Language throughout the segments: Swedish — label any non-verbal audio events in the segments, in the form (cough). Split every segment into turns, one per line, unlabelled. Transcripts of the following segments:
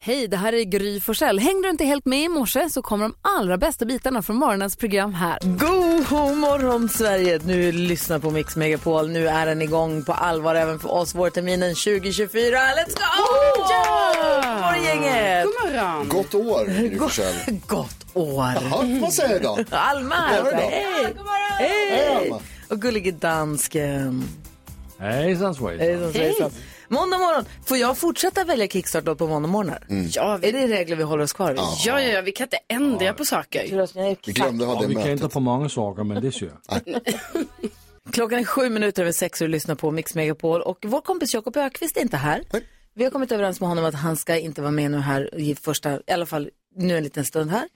Hej, det här är Gry Forssell. Hängde du inte helt med i morse så kommer de allra bästa bitarna från morgonens program här.
God morgon Sverige! Nu lyssnar på Mix Megapol. Nu är den igång på allvar även för oss vårterminen 2024. Let's go! God morgon gänget!
God morgon!
Gott
(laughs)
år, Gry Forssell.
Gott år!
Jaha, vad säger jag då?
Alma!
God morgon, då.
Hej!
Hej,
Hej!
Alma.
Och gullige dansken.
Hejsan svejsan.
Hejsan, svejsan. Måndag morgon. Får jag fortsätta välja kickstart då på måndagmorgnar?
Mm.
Ja, vi,
Är det regler vi håller oss kvar vid?
Ja.
ja, ja, ja, vi kan inte ändra på saker.
Vi glömde ha
Ja,
det
vi kan inte
mötet.
på många saker, men det kör.
Klockan är sju minuter över sex och du lyssnar på Mix Megapol. Och vår kompis Jakob Ökvist är inte här.
Nej.
Vi har kommit överens med honom att han ska inte vara med nu här i första, i alla fall nu en liten stund här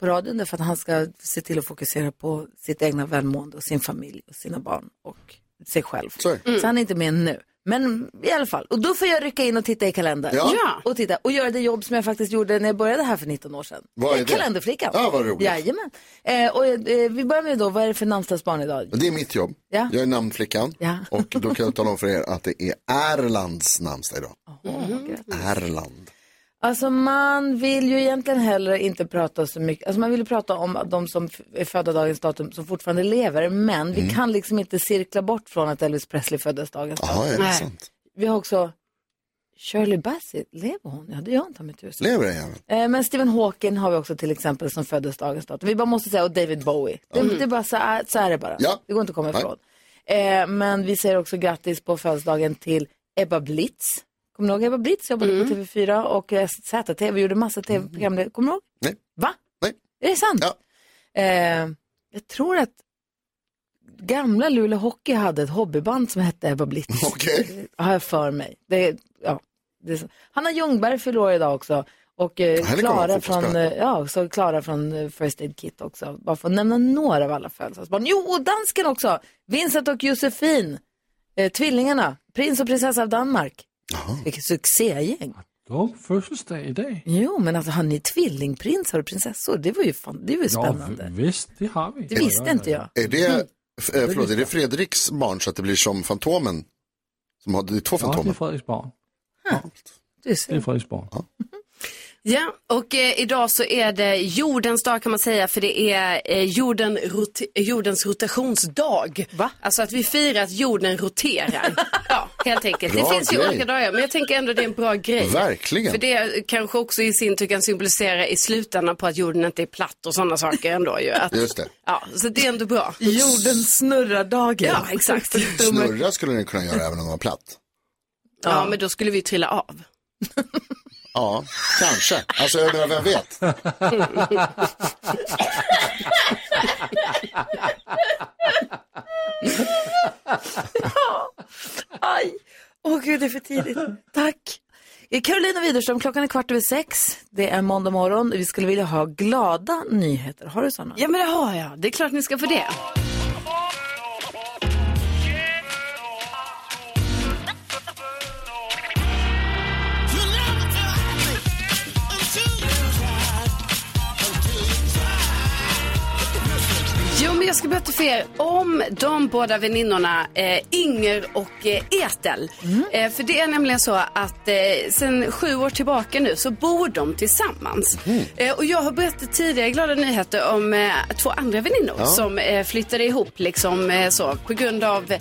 på radion. Därför att han ska se till att fokusera på sitt egna välmående och sin familj och sina barn och sig själv.
Så är det.
Så han är inte med nu. Men i alla fall, och då får jag rycka in och titta i kalendern.
Ja.
Ja.
Och, titta, och göra det jobb som jag faktiskt gjorde när jag började här för 19 år sedan.
Vad är
Jag
det?
Kalenderflickan.
Ja, vad roligt.
Jajamän. Eh, och, eh, vi börjar med då, vad är det för namnsdagsbarn idag?
Men Det är mitt jobb.
Ja.
Jag är namnflickan.
Ja.
Och då kan jag tala om för er att det är Erlands namnsdag idag.
Mm.
Erland.
Alltså man vill ju egentligen hellre inte prata så mycket, alltså man vill ju prata om de som f- är födda dagens datum som fortfarande lever, men vi kan liksom inte cirkla bort från att Elvis Presley föddes dagens
Jaha,
datum.
är det
Nej.
sant?
Vi har också Shirley Bassey, lever hon? Ja, det gör hon ta mig tusan.
Lever den jäveln?
Eh, Men Stephen Hawking har vi också till exempel som föddes dagens datum. Vi bara måste säga, och David Bowie. Det, det är bara så, här, så är det bara.
Mm. Ja.
Det går inte att komma
Nej.
ifrån. Eh, men vi säger också grattis på födelsedagen till Ebba Blitz. Kommer ni ihåg Ebba Blitz? Jobbade
Mm.
på TV4 och eh, ZTV. Vi gjorde massa tv-program. där. Kommer ni ihåg?
Nej.
Va?
Nej.
Är det sant?
Ja.
Eh, jag tror att gamla Luleå Hockey hade ett hobbyband som hette Ebba Blitz.
(laughs) Okej.
Har jag för mig. Det, ja, det är så. Hanna Ljungberg fyller år idag också. Och eh,
henne kommer
Klara
jag
från,
fotbollsspelare.
eh, ja, så Klara från eh, First Aid Kit också. Bara för att nämna några av alla födelsedagsbarn. Jo, och dansken också. Vincent och Josefin. Eh, tvillingarna. Prins och prinsessa av Danmark.
Jaha.
Vilket succégäng.
Då födelsedag idag.
Jo, men alltså har ni tvillingprinsar och prinsessor? Det var ju, fan, det var ju spännande.
Ja, visst, det har vi.
det visste inte jag.
Är
Mm.
det, f- eh, förlåt, är det Fredriks barn så att det blir som Fantomen? Som har, det är två
Ja, det är
Fantomen.
Fredriks barn.
Du
Det är
ser.
Fredriks barn.
Ja, och eh, idag så är det jordens dag kan man säga, för det är eh, jorden rot- jordens rotationsdag.
Va?
Alltså att vi firar att jorden roterar. (laughs) ja, helt enkelt.
Bra
det finns ju
grej.
olika dagar, men jag tänker ändå det är en bra grej.
Verkligen.
För det kanske också i sin tur kan symbolisera i slutändan på att jorden inte är platt och sådana saker ändå ju. Att,
Just det.
ja, så det är ändå bra.
Jorden snurrar dagen.
(laughs) Ja, exakt.
Snurra skulle den kunna göra även om den var platt.
Ja, men då skulle vi trilla av.
Ja, kanske. Alltså, jag menar, vem vet?
Aj! Åh gud, det är för tidigt. Tack. Eh, Carolina Widerström, klockan är kvart över sex. Det är måndag morgon. Vi skulle vilja ha glada nyheter. Har du sådana?
Ja, men det har jag. Det är klart ni ska få det. Jo, men jag ska berätta för er om de båda väninnorna eh, Inger och eh, Ethel. Eh, för det är nämligen så att eh, sen sju år tillbaka nu så bor de tillsammans. Eh, och jag har berättat tidigare glada nyheter om eh, två andra väninnor som eh, flyttade ihop liksom eh, så på grund av eh,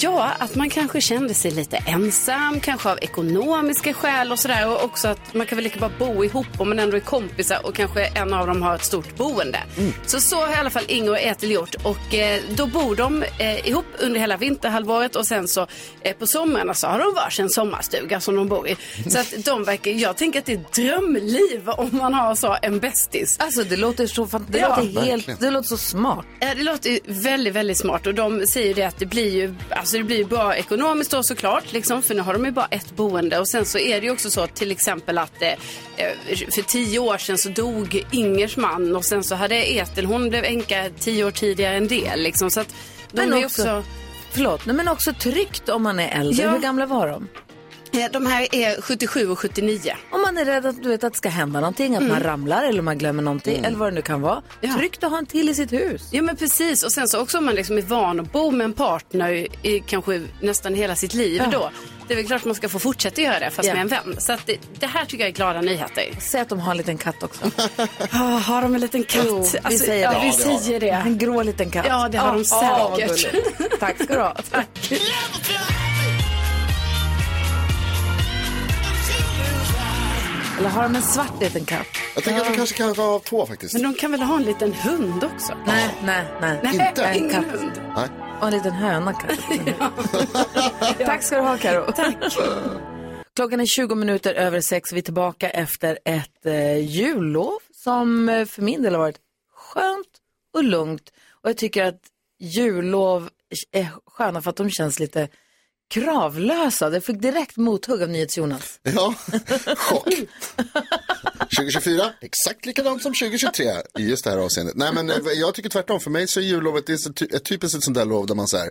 Ja, att man kanske kände sig lite ensam, kanske av ekonomiska skäl och sådär. Och också att man kan väl lika bara bo ihop om man ändå är kompisar och kanske en av dem har ett stort boende. Så så har i alla fall Inger och Ethel gjort. Och eh, då bor de eh, ihop under hela vinterhalvåret och sen så eh, på somrarna så har de varsin sommarstuga som de bor i. Så att de verkar, jag tänker att det är ett drömliv om man har så en bästis.
Alltså, det låter så fan... det,
Ja,
låter helt...
verkligen.
det låter så smart.
Ja, Eh, det låter ju väldigt, väldigt smart och de säger ju det att det blir ju, alltså det blir ju bra ekonomiskt då såklart, liksom, för nu har de ju bara ett boende och sen så är det ju också så till exempel att eh, eh, för tio år sedan så dog Ingers man och sen så hade Ethel, hon blev änka tio år tidigare än det liksom så att de
Men
är ju
också-
också...
Förlåt, nej, men också tryggt om man är äldre.
Ja.
Hur gamla var de?
eh, de här är 77 och 79.
Om man är rädd att, du vet, att det ska hända någonting, att man ramlar eller man glömmer någonting eller vad det nu kan vara.
Ja.
Tryggt att ha en till i sitt hus.
Ja men precis och sen så också om man liksom är van att bo med en partner i, i kanske nästan hela sitt liv då. Det är väl klart man ska få fortsätta göra det fast
Ja.
med en vän. Så att det, det här tycker jag är glada nyheter.
Säg att de har en liten katt (laughs) också.
Ah, har de en liten katt?
Jo, vi säger
Alltså, ja,
det.
Vi
Alltså, Ja,
det har
säger det.
En grå liten katt.
Ja, det har de
Ja, vad
säkert.
gulligt. Tack ska du ha. Eller har de en svart liten katt?
Jag tänker att de kanske kan ha två faktiskt.
Men de kan väl ha en liten hund också?
Nej, nej, nej.
Inte.
En
ingen
katt.
hund.
Nej.
Och en liten höna (laughs) kanske. Tack ska du ha Karo. Klockan är 20 minuter över sex. Vi är tillbaka efter ett eh, jullov som eh, för min del har varit skönt och lugnt. Och jag tycker att jullov är sköna för att de känns lite kravlösa. Jag fick direkt mothugg av NyhetsJonas. (laughs)
Ja, chock. 2024, exakt likadant som 2023 i just det här avseendet. Nej men eh, jag tycker tvärtom, för mig så är jullovet det är så ty- ett typiskt ett sånt där lov där man säger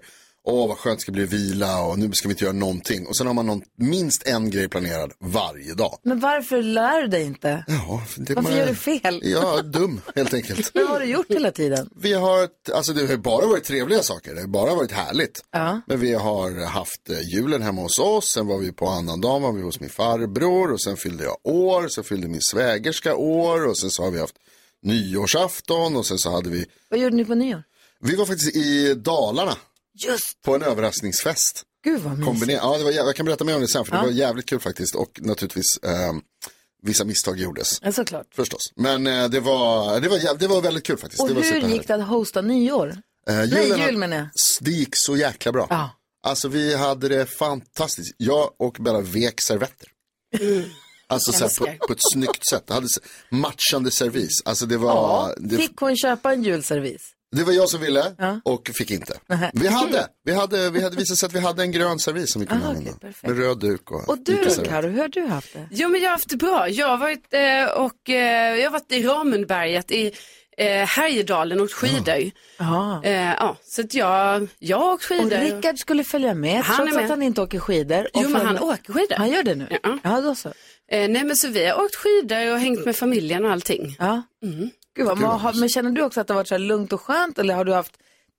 Åh vad skönt det ska bli att vila och nu ska vi inte göra någonting. Och sen har man någon, minst en grej planerad varje dag.
Men varför lär du dig inte?
Ja, det
Varför gör du fel?
Ja, dum helt
(laughs)
enkelt.
Vad har du gjort hela tiden?
Vi har, alltså det har bara varit trevliga saker, det har bara varit härligt.
Ja.
Men vi har haft eh, julen hemma hos oss, sen var vi på annandagen var vi hos min farbror och sen fyllde jag år, sen fyllde min svägerska år och sen så har vi haft nyårsafton och sen så hade vi,
Vad gjorde ni på nyår?
vi var faktiskt i Dalarna
Just
på en överraskningsfest.
Gud vad mysigt.
Kombiner- ja, det var, jä- jag kan berätta mer om det sen för det var jävligt kul faktiskt och naturligtvis eh, vissa misstag gjordes.
Ja, såklart.
Förstås. Men eh, det, var, det, var, jä- det var väldigt kul faktiskt.
Och
det var
hur
superhärligt.
gick det att hosta nyår?
Eh,
Nej,
julen-
jul menar jag.
S- Det gick så jäkla bra.
Ja.
Alltså vi hade det fantastiskt. Jag och Bella vek servetter.
Mm.
Alltså så här,
Älskar.
på, på ett snyggt sätt. Jag hade s- matchande servis. Alltså det var,
Ja,
det,
Fick hon köpa en julservis?
det var jag som ville och fick inte. Vi hade, vi hade, vi hade visat sig att vi hade en grön servis som vi kunde
Ah, okej,
använda.
perfekt.
Med röd duk och,
Och du
vita
då
servetter.
Karo, hur har du haft det?
Jo men jag har haft det bra. Jag har varit, eh, och, eh, jag har varit i Ramundberget i eh, Härjedalen och åkt skidor.
Ja.
Eh, ja, så att jag, jag har åkt
Och
skidor.
Rickard skulle följa med
Han är
trots att
med.
han inte åker skidor. Och
Jo men han
följa-
åker skidor.
Han gör det nu?
Ja.
Ja, då så.
Eh, nej men så vi har åkt skidor och hängt med familjen och allting.
Ja.
Mm.
Gud, vad, men, har, men känner du också att det har varit så här lugnt och skönt eller har du haft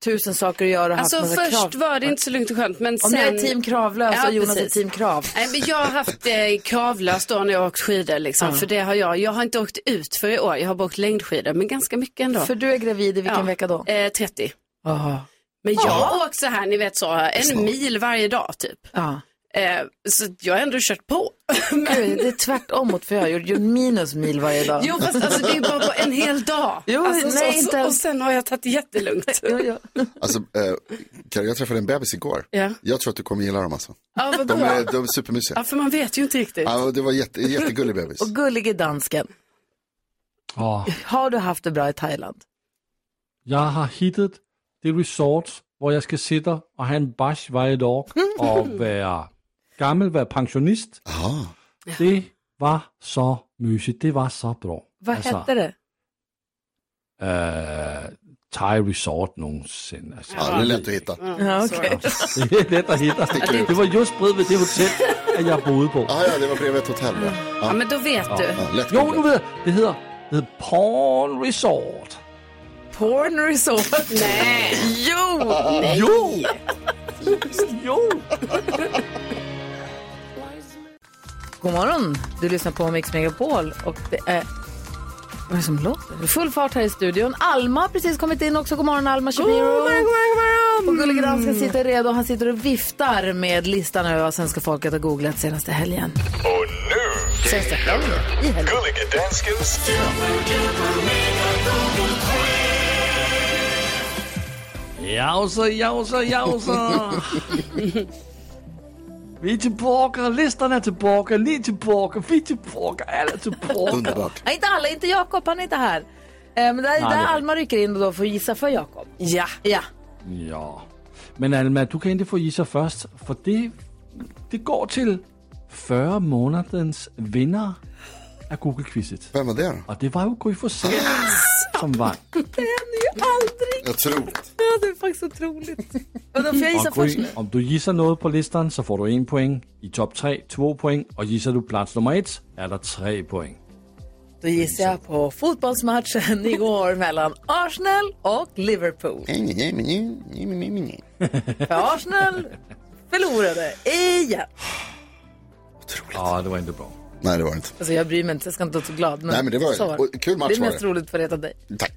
tusen saker att göra? Och
Alltså
haft massa
först
krav?
var det inte så lugnt och skönt men
Om
sen...
jag är team kravlös
Ja,
och Jonas
precis.
är team krav.
Nej, men jag har haft eh, kravlös då när jag har åkt skidor. Liksom, För det har jag. Jag har inte åkt ut för i år. Jag har bara åkt längdskidor, men ganska mycket ändå.
För du är gravid i vilken
Ja.
vecka då?
Eh, 30.
Ja.
Men jag har åkt så här, ni vet så, en mil varje dag typ.
Ja.
Eh, så jag har ändå kört på. men,
Gud, det är tvärtom mot för jag har gjort gjort minus mil varje dag.
jo, fast alltså, det är bara på en hel dag.
Jo,
alltså,
nej,
så,
inte
så,
ens.
och sen har jag tagit det
(laughs)
jättelugnt.
Jo, jo.
Alltså, eh, Karo, jag träffade en bebis igår.
Ja.
Jag tror att du kommer gilla dem alltså.
Ja, vad
De är,
bra.
de är supermysiga.
Ja, för man vet ju inte riktigt.
Ja, det var jätte, jättegullig bebis.
Och gullige dansken,
Åh,
har du haft det bra i Thailand?
jag har hittat det resort där jag ska sitta och ha en bash varje
(laughs)
dag och vara gammal, vara pensionist.
Ah,
Det var så mysigt, det var så bra.
Vad
Alltså.
hette det?
eh, Thai Resort någonsin. Alltså,
ja, det är lätt att hitta.
Ja, okej.
(laughs) Det är lätt att hitta. Det var just bredvid det hotell att jag bodde på.
Ah, ja, det var bredvid ett hotell. Ja.
Ja,
Ja,
men då vet du.
ja, lätt
Jo, nu vet jag. Det heter, det heter Pawn Resort.
Porn resort.
Nej.
Jo!
Jo! jo!
God morgon, du lyssnar på Mix Megapol och det är... Vad är det som låter? Full fart här i studion. Alma har precis kommit in också. God morgon Alma Shapiro. God morgon, god morgon, Och gullige dansken sitter redo. Han sitter och viftar med listan över vad svenska folket har googlat senaste helgen.
Och nu,
Senaste helgen? I helgen.
Gullige Danskens
Jausa, jausa, jausa! (laughs) Vi är tillbaka, listan är tillbaka, ni är tillbaka, vi är tillbaka, alla är tillbaka.
Underbart.
Nej, inte alla. Inte Jakob. Han är inte här. Eh, Men det är
det
där
är-
Alma rycker in och då får gissa för Jakob.
Ja.
Ja.
(laughs) Ja. Men Alma, du kan inte få gissa först, för det, det går till 40 månadens vinnare av Google-quizet.
Vem var det då?
Och det var ju Gry Forssell som vann.
Jag tror det.
Ja, det är faktiskt otroligt. Och då får jag gissa
Och Gry,
först nu.
om du gissar något på listan så får du en poäng. I topp tre, två poäng. Och gissar du plats nummer ett är det tre poäng.
Då gissar jag på fotbollsmatchen (laughs) igår mellan Arsenal och Liverpool. För Arsenal förlorade igen.
otroligt.
Ja, det var inte bra.
Nej, det var det inte.
Alltså jag bryr mig inte, jag ska inte vara så glad. Men
Nej, men det var-
så
och kul match
Det är
var
mest
det.
roligt för att reta dig.
Tack.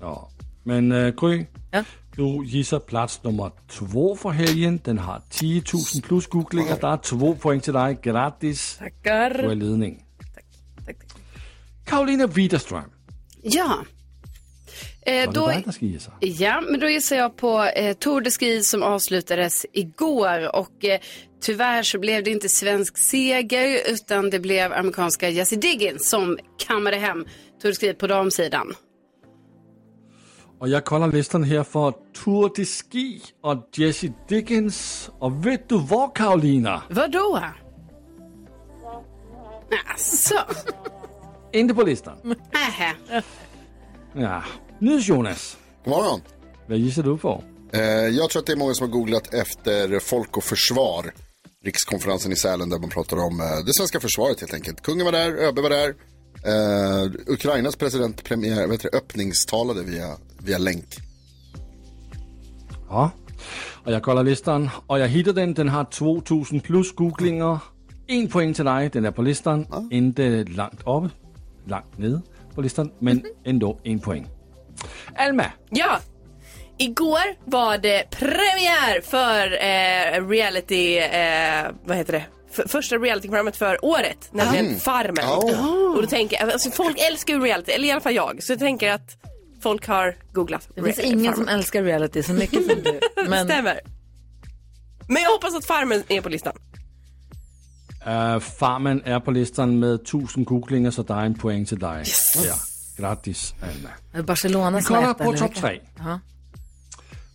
Ja. Men uh, Gry,
Ja.
du gissar plats nummer två för helgen. Den har 10 000 plus googlinger. Der er två poäng till dig. Grattis. Du
Tackar.
är i ledning.
Tack, tack.
Karolina Widerström.
Ja. Eh,
Var det
då,
dig, der skal gissa?
ja, men då gissar jag på eh, Tour de Ski som avslutades igår och eh, tyvärr så blev det inte svensk seger utan det blev amerikanska Jesse Diggins som kammade hem Tour de Ski på damsidan.
Og jeg kolder listerne her for Tour de Ski og Jesse Dickens. Og ved du hvor, Karolina?
Vadå? Alltså,
Inte på listan.
nähä.
Ja. Nils Jonas.
God morgon.
Hvad gissar du på?
Eh, jag tror att det är många som har googlat efter Folk och Försvar. Rikskonferensen i Sälen där man pratar om eh, det svenska försvaret helt enkelt. Kungen var där, ÖB var där. Eh, Ukrainas president premiär, vad heter det, öppningstalade via, via länk.
Ja. Og jeg kolder listeren, og jeg hitter den. Den har 2.000 plus googlinger. En point til dig, den er på listeren. Ja. Endte langt oppe, langt nede på listeren, men endnu en point. Alma,
Ja. Igår var det premiär för eh, reality, eh, vad heter det? F- första realityprogrammet för året, nämligen Farmen.
Ja.
Och då tänker jag, alltså, folk älskar ju reality, eller i alla fall jag. Så jag tänker att folk har googlat
Det finns
re-
ingen
Farmen.
som älskar reality så mycket som du. (laughs) Men
Stämmer. Men jag hoppas att Farmen är på listan.
uh, farmen er på listeren med 1.000 googlinger, så der er en point til dig. Yes. Ja. Gratis, Alma.
Barcelona
Vi
som
kolder
äter,
på
eller
top
vilka?
3.
Ja.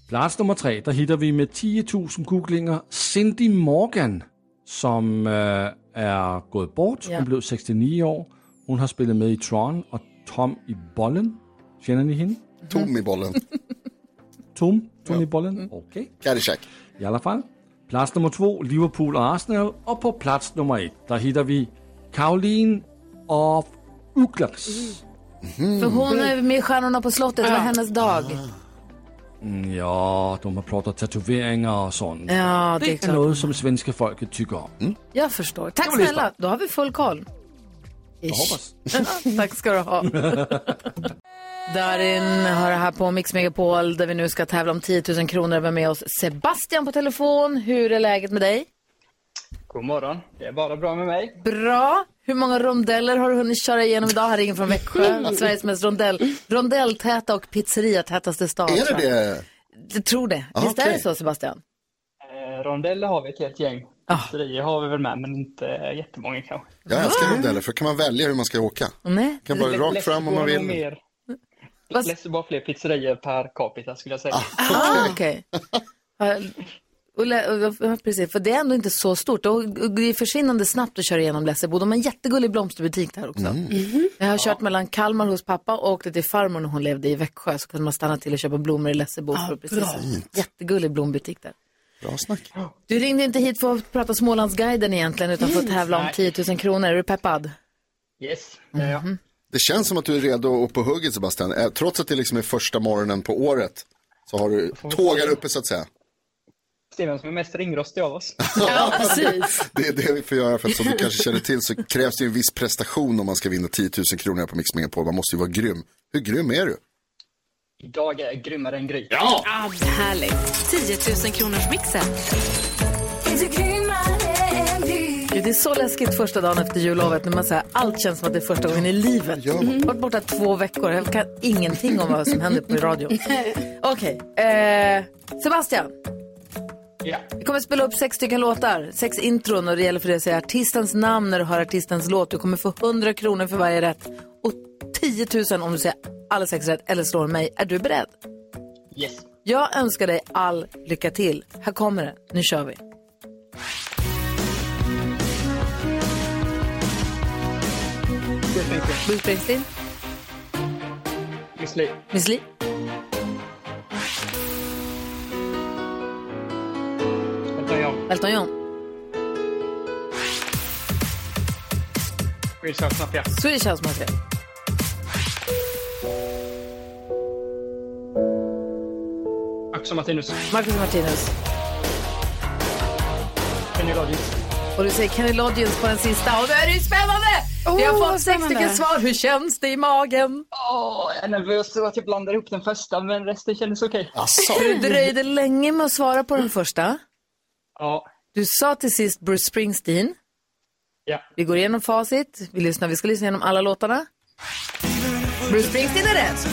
Plads nummer 3, der hitter vi med 10.000 googlinger Cindy Morgan, som øh, er gået bort.
Ja.
Hun blev 69 år. Hun har spillet med i Tron og Tom i Bollen. Kender ni hende?
Tom i bollen.
Tom? Tom i Bollen? Okay.
Caddyshack.
I alla fall. Plads nummer 2, Liverpool og Arsenal. Og på plads nummer 1, der hitter vi Caroline of Uglers.
Mm. För hon
Mm.
är med i Stjärnorna på slottet, det var hennes dag.
Mm, Ja, de har pratat tatoveringer og sådan.
Ja, det är
Det er
klart.
noget, som svenske folket tykker om.
Jag förstår. Tack
var listan.
snälla, då har vi full koll.
Jeg håber,
Tack ska du ha. (laughs) Darin har det här på Mix Megapol där vi nu ska tävla om 10 000 kronor. Vi har med oss Sebastian på telefon. Hur är läget med dig?
God morgon. Det är bara bra med mig.
Bra. Hur många rondeller har du hunnit köra igenom idag? Här ringer från
(laughs)
Växjö, Sveriges mest rondell, rondelltäta och pizzeriatätaste stad.
Är det
tror jag.
det?
Jag tror det.
Ah,
Visst är det
okej.
så, Sebastian?
Eh, rondeller har vi ett helt gäng. Pizzerior har vi väl med, men inte eh, jättemånga kanske.
Jag älskar rondeller för kan man välja hur man ska åka.
Nej.
Kan bara rakt fram om man
Läser bara
vill.
Mer,
Vad-
läser bara fler pizzerior per capita skulle jag säga.
Ah, okej. Ja, och lä- och- ja, Precis, för det är ändå inte så stort. Och och det är försvinnande snabbt att köra igenom Lessebo. De har en jättegullig blomsterbutik där också. Jag har kört mellan Kalmar hos pappa och åkte till farmor när hon levde i Växjö. Så kunde man stanna till och köpa blommor i Lessebo. för precis, jättegullig blombutik där.
Bra snack.
Du ringde inte hit för att prata Smålandsguiden egentligen utan för att tävla om 10 000 kronor. Är du peppad?
Yes, Eh, det är jag.
Det känns som att du är redo och på hugget Sebastian. Eh, Trots att det liksom är första morgonen på året så har du tågar uppe så att säga.
Steven som är mest ringrostig av oss.
Ja, precis.
Det är det vi får göra för att som du kanske känner till så krävs det ju en viss prestation om man ska vinna 10 000 kronor här på Mix Megapol. Man måste ju vara grym. Hur grym är du?
Idag är jag grymmare än Gry.
Ah, härligt. 10 000 kronors mixen.
Det är så läskigt första dagen efter jullovet när man säger allt känns som att det är första gången i livet.
Ja.
Jag har varit borta två veckor, jag kan ingenting om vad som händer på radion. Okej, eh, Sebastian.
Ja.
Vi kommer spela upp sex stycken låtar, sex intron och det gäller för dig att säga artistens namn när du hör artistens låt. Du kommer få 100 kronor för varje rätt och 10 000 om du säger alla sex rätt eller slår mig. Är du beredd?
Yes.
Jag önskar dig all lycka till. Här kommer det. Nu kör vi. Bruce Springsteen,
Miss Li.
Miss Li,
Elton John.
Elton John,
Chris House Mafia.
Swedish House Mafia.
Axel Martinus.
Marcus Martinus,
Kenny Loggins.
Och du säger Kenny Loggins på den sista och då är det ju spännande! Vi har
Åh,
fått
vad
sex
spännande.
stycken svar. Hur känns det i magen?
Åh, jag är nervös över att jag blandar ihop den första, men resten kändes okej.
Asså.
Du dröjde länge med att svara på den första.
Ja,
Du sa till sist Bruce Springsteen.
ja.
Vi går igenom facit. Vi, lyssnar. vi ska lyssna igenom alla låtarna. Bruce Springsteen är rätt.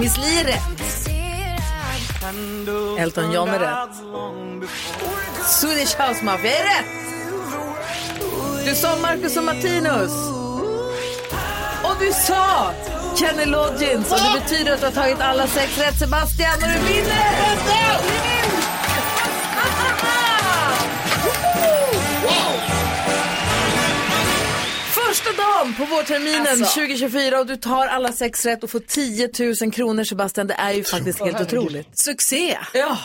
Miss Li är rätt. Elton John är rätt. Swedish House Mafia är rätt. Du sa Marcus och Martinus. Och du sa Kenny Loggins. Och det betyder att du har tagit alla sex rätt, Sebastian. Och du vinner! (laughs) Första dagen på vårterminen 2024 och du tar alla sex rätt och får 10 000 kronor Sebastian. Det är ju faktiskt helt otroligt.
Succé!
Ja.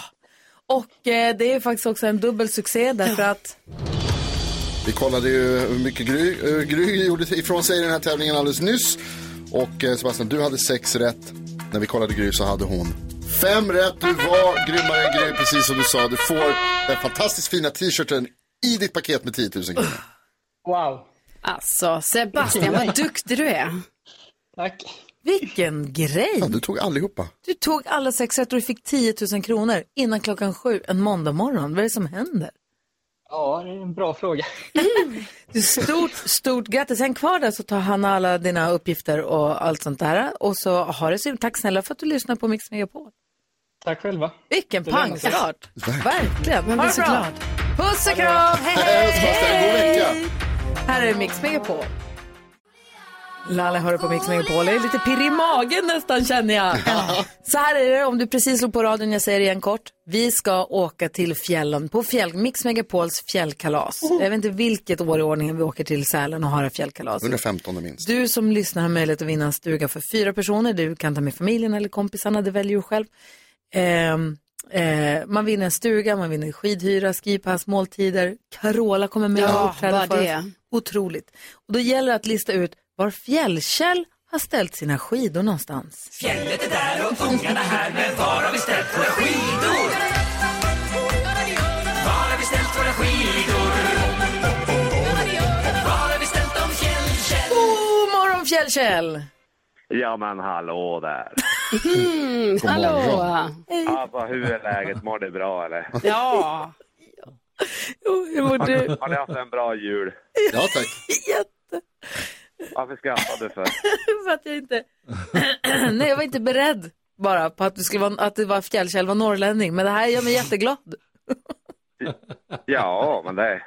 Och eh, det är ju faktiskt också en dubbel succé därför att
Vi kollade ju hur mycket Gry, eh, Gry gjorde ifrån sig i den här tävlingen alldeles nyss. Och eh, Sebastian, du hade sex rätt. När vi kollade Gry så hade hon fem rätt. Du var grymmare än Gry, precis som du sa. Du får den fantastiskt fina t-shirten i ditt paket med 10 000 kronor.
Wow,
Alltså, Sebastian, vad duktig du är.
tack.
vilken grej!
Ja, du tog allihopa.
Du tog alla sex rätt och du fick 10 000 kronor innan klockan sju en måndag morgon. Vad är det som händer?
Ja, det är en bra fråga.
Du, Stort, stort grattis. Sen kvar där så tar Hanna alla dina uppgifter och allt sånt där. Och så har det så Tack snälla för att du lyssnar på Mix Megapol.
Tack själva.
Vilken
lönar sig.
pangstart! Verkligen. Ha det
så
bra.
glad.
Puss och kram!
Hej, (laughs) Sebastian, god vecka!
Här är Mix Megapol. Lalle hör på Mix Megapol. Jag är lite pirrig i magen nästan känner jag. Så här är det om du precis slog på radion, jag säger det igen kort. Vi ska åka till fjällen på fjäll, Mix Megapols fjällkalas. Jag vet inte vilket år i ordningen vi åker till Sälen och har ett fjällkalas.
115 minst.
Du som lyssnar har möjlighet att vinna en stuga för fyra personer. Du kan ta med familjen eller kompisarna, det väljer du själv. Ehm, eh, man vinner en stuga, man vinner skidhyra, skipass, måltider. Carola kommer med
Ja,
och uppträder
bara
för
det.
oss. Otroligt. Och då gäller det att lista ut var Fjällkäll har ställt sina skidor någonstans. God morgon Fjällkäll!
Ja men hallå där.
God morgon.
Alltså hur är läget? Mår ni bra eller?
Ja.
Jo, hur mår du?
Har ni haft en bra jul?
Ja, tack.
Jätte...
Varför skrattade du för?
För att jag inte... (clears throat) Nej, jag var inte beredd bara på att, du skulle vara, att det var Fjällkäll var norrlänning. Men det här gör mig jätteglad.
Ja men det...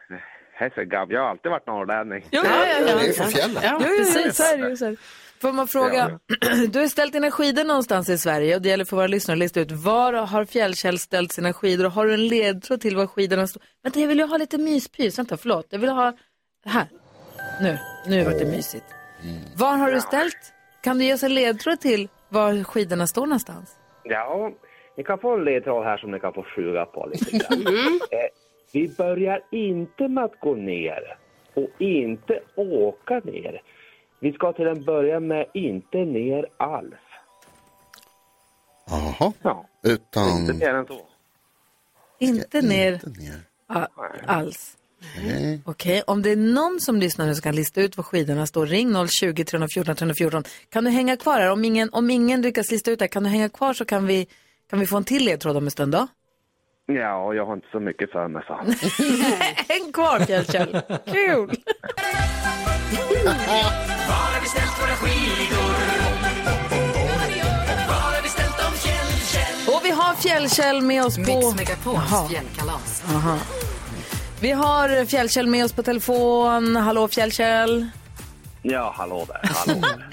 Hej så gabb. Jag har alltid varit norrlänning.
Jo, ja, ja,
Det är från fjällen.
Jo, jo, jo, så är det ju. så är det. Får man fråga, (clears throat) du har ställt dina skidor någonstans i Sverige och det gäller för våra lyssnare att lista ut var har Fjällkäll ställt sina skidor och har du en ledtråd till var skidorna står? Vänta, jag vill ju ha lite myspys. Vänta, förlåt. Jag vill ha, här. Nu, nu vart det mysigt. Var har du ställt? Kan du ge oss en ledtråd till var skidorna står någonstans?
Ja, ni kan få en ledtråd här som ni kan få suga på lite grann. Eh, vi börjar inte med att gå ner och inte åka ner. Vi ska till en början med inte ner alls.
Jaha.
Ja, inte
Utan...
mer än så.
Inte ner
Inte ner.
a- alls.
Nej.
Okej, om det är någon som lyssnar nu som kan lista ut var skidorna står, ring 020 314 314. Kan du hänga kvar här? Om ingen, om ingen lyckas lista ut det här, kan du hänga kvar så kan vi, kan vi få en till ledtråd om en stund då?
Ja, jag har inte så mycket för mig så.
Häng kvar Fjällkäll, kul! Och vi har Fjällkäll med oss på...
Mix
Jaha.
Megapols fjällkalas.
Vi har Fjällkäll med oss på telefon. Hallå Fjällkäll!
Ja, hallå där, hallå där.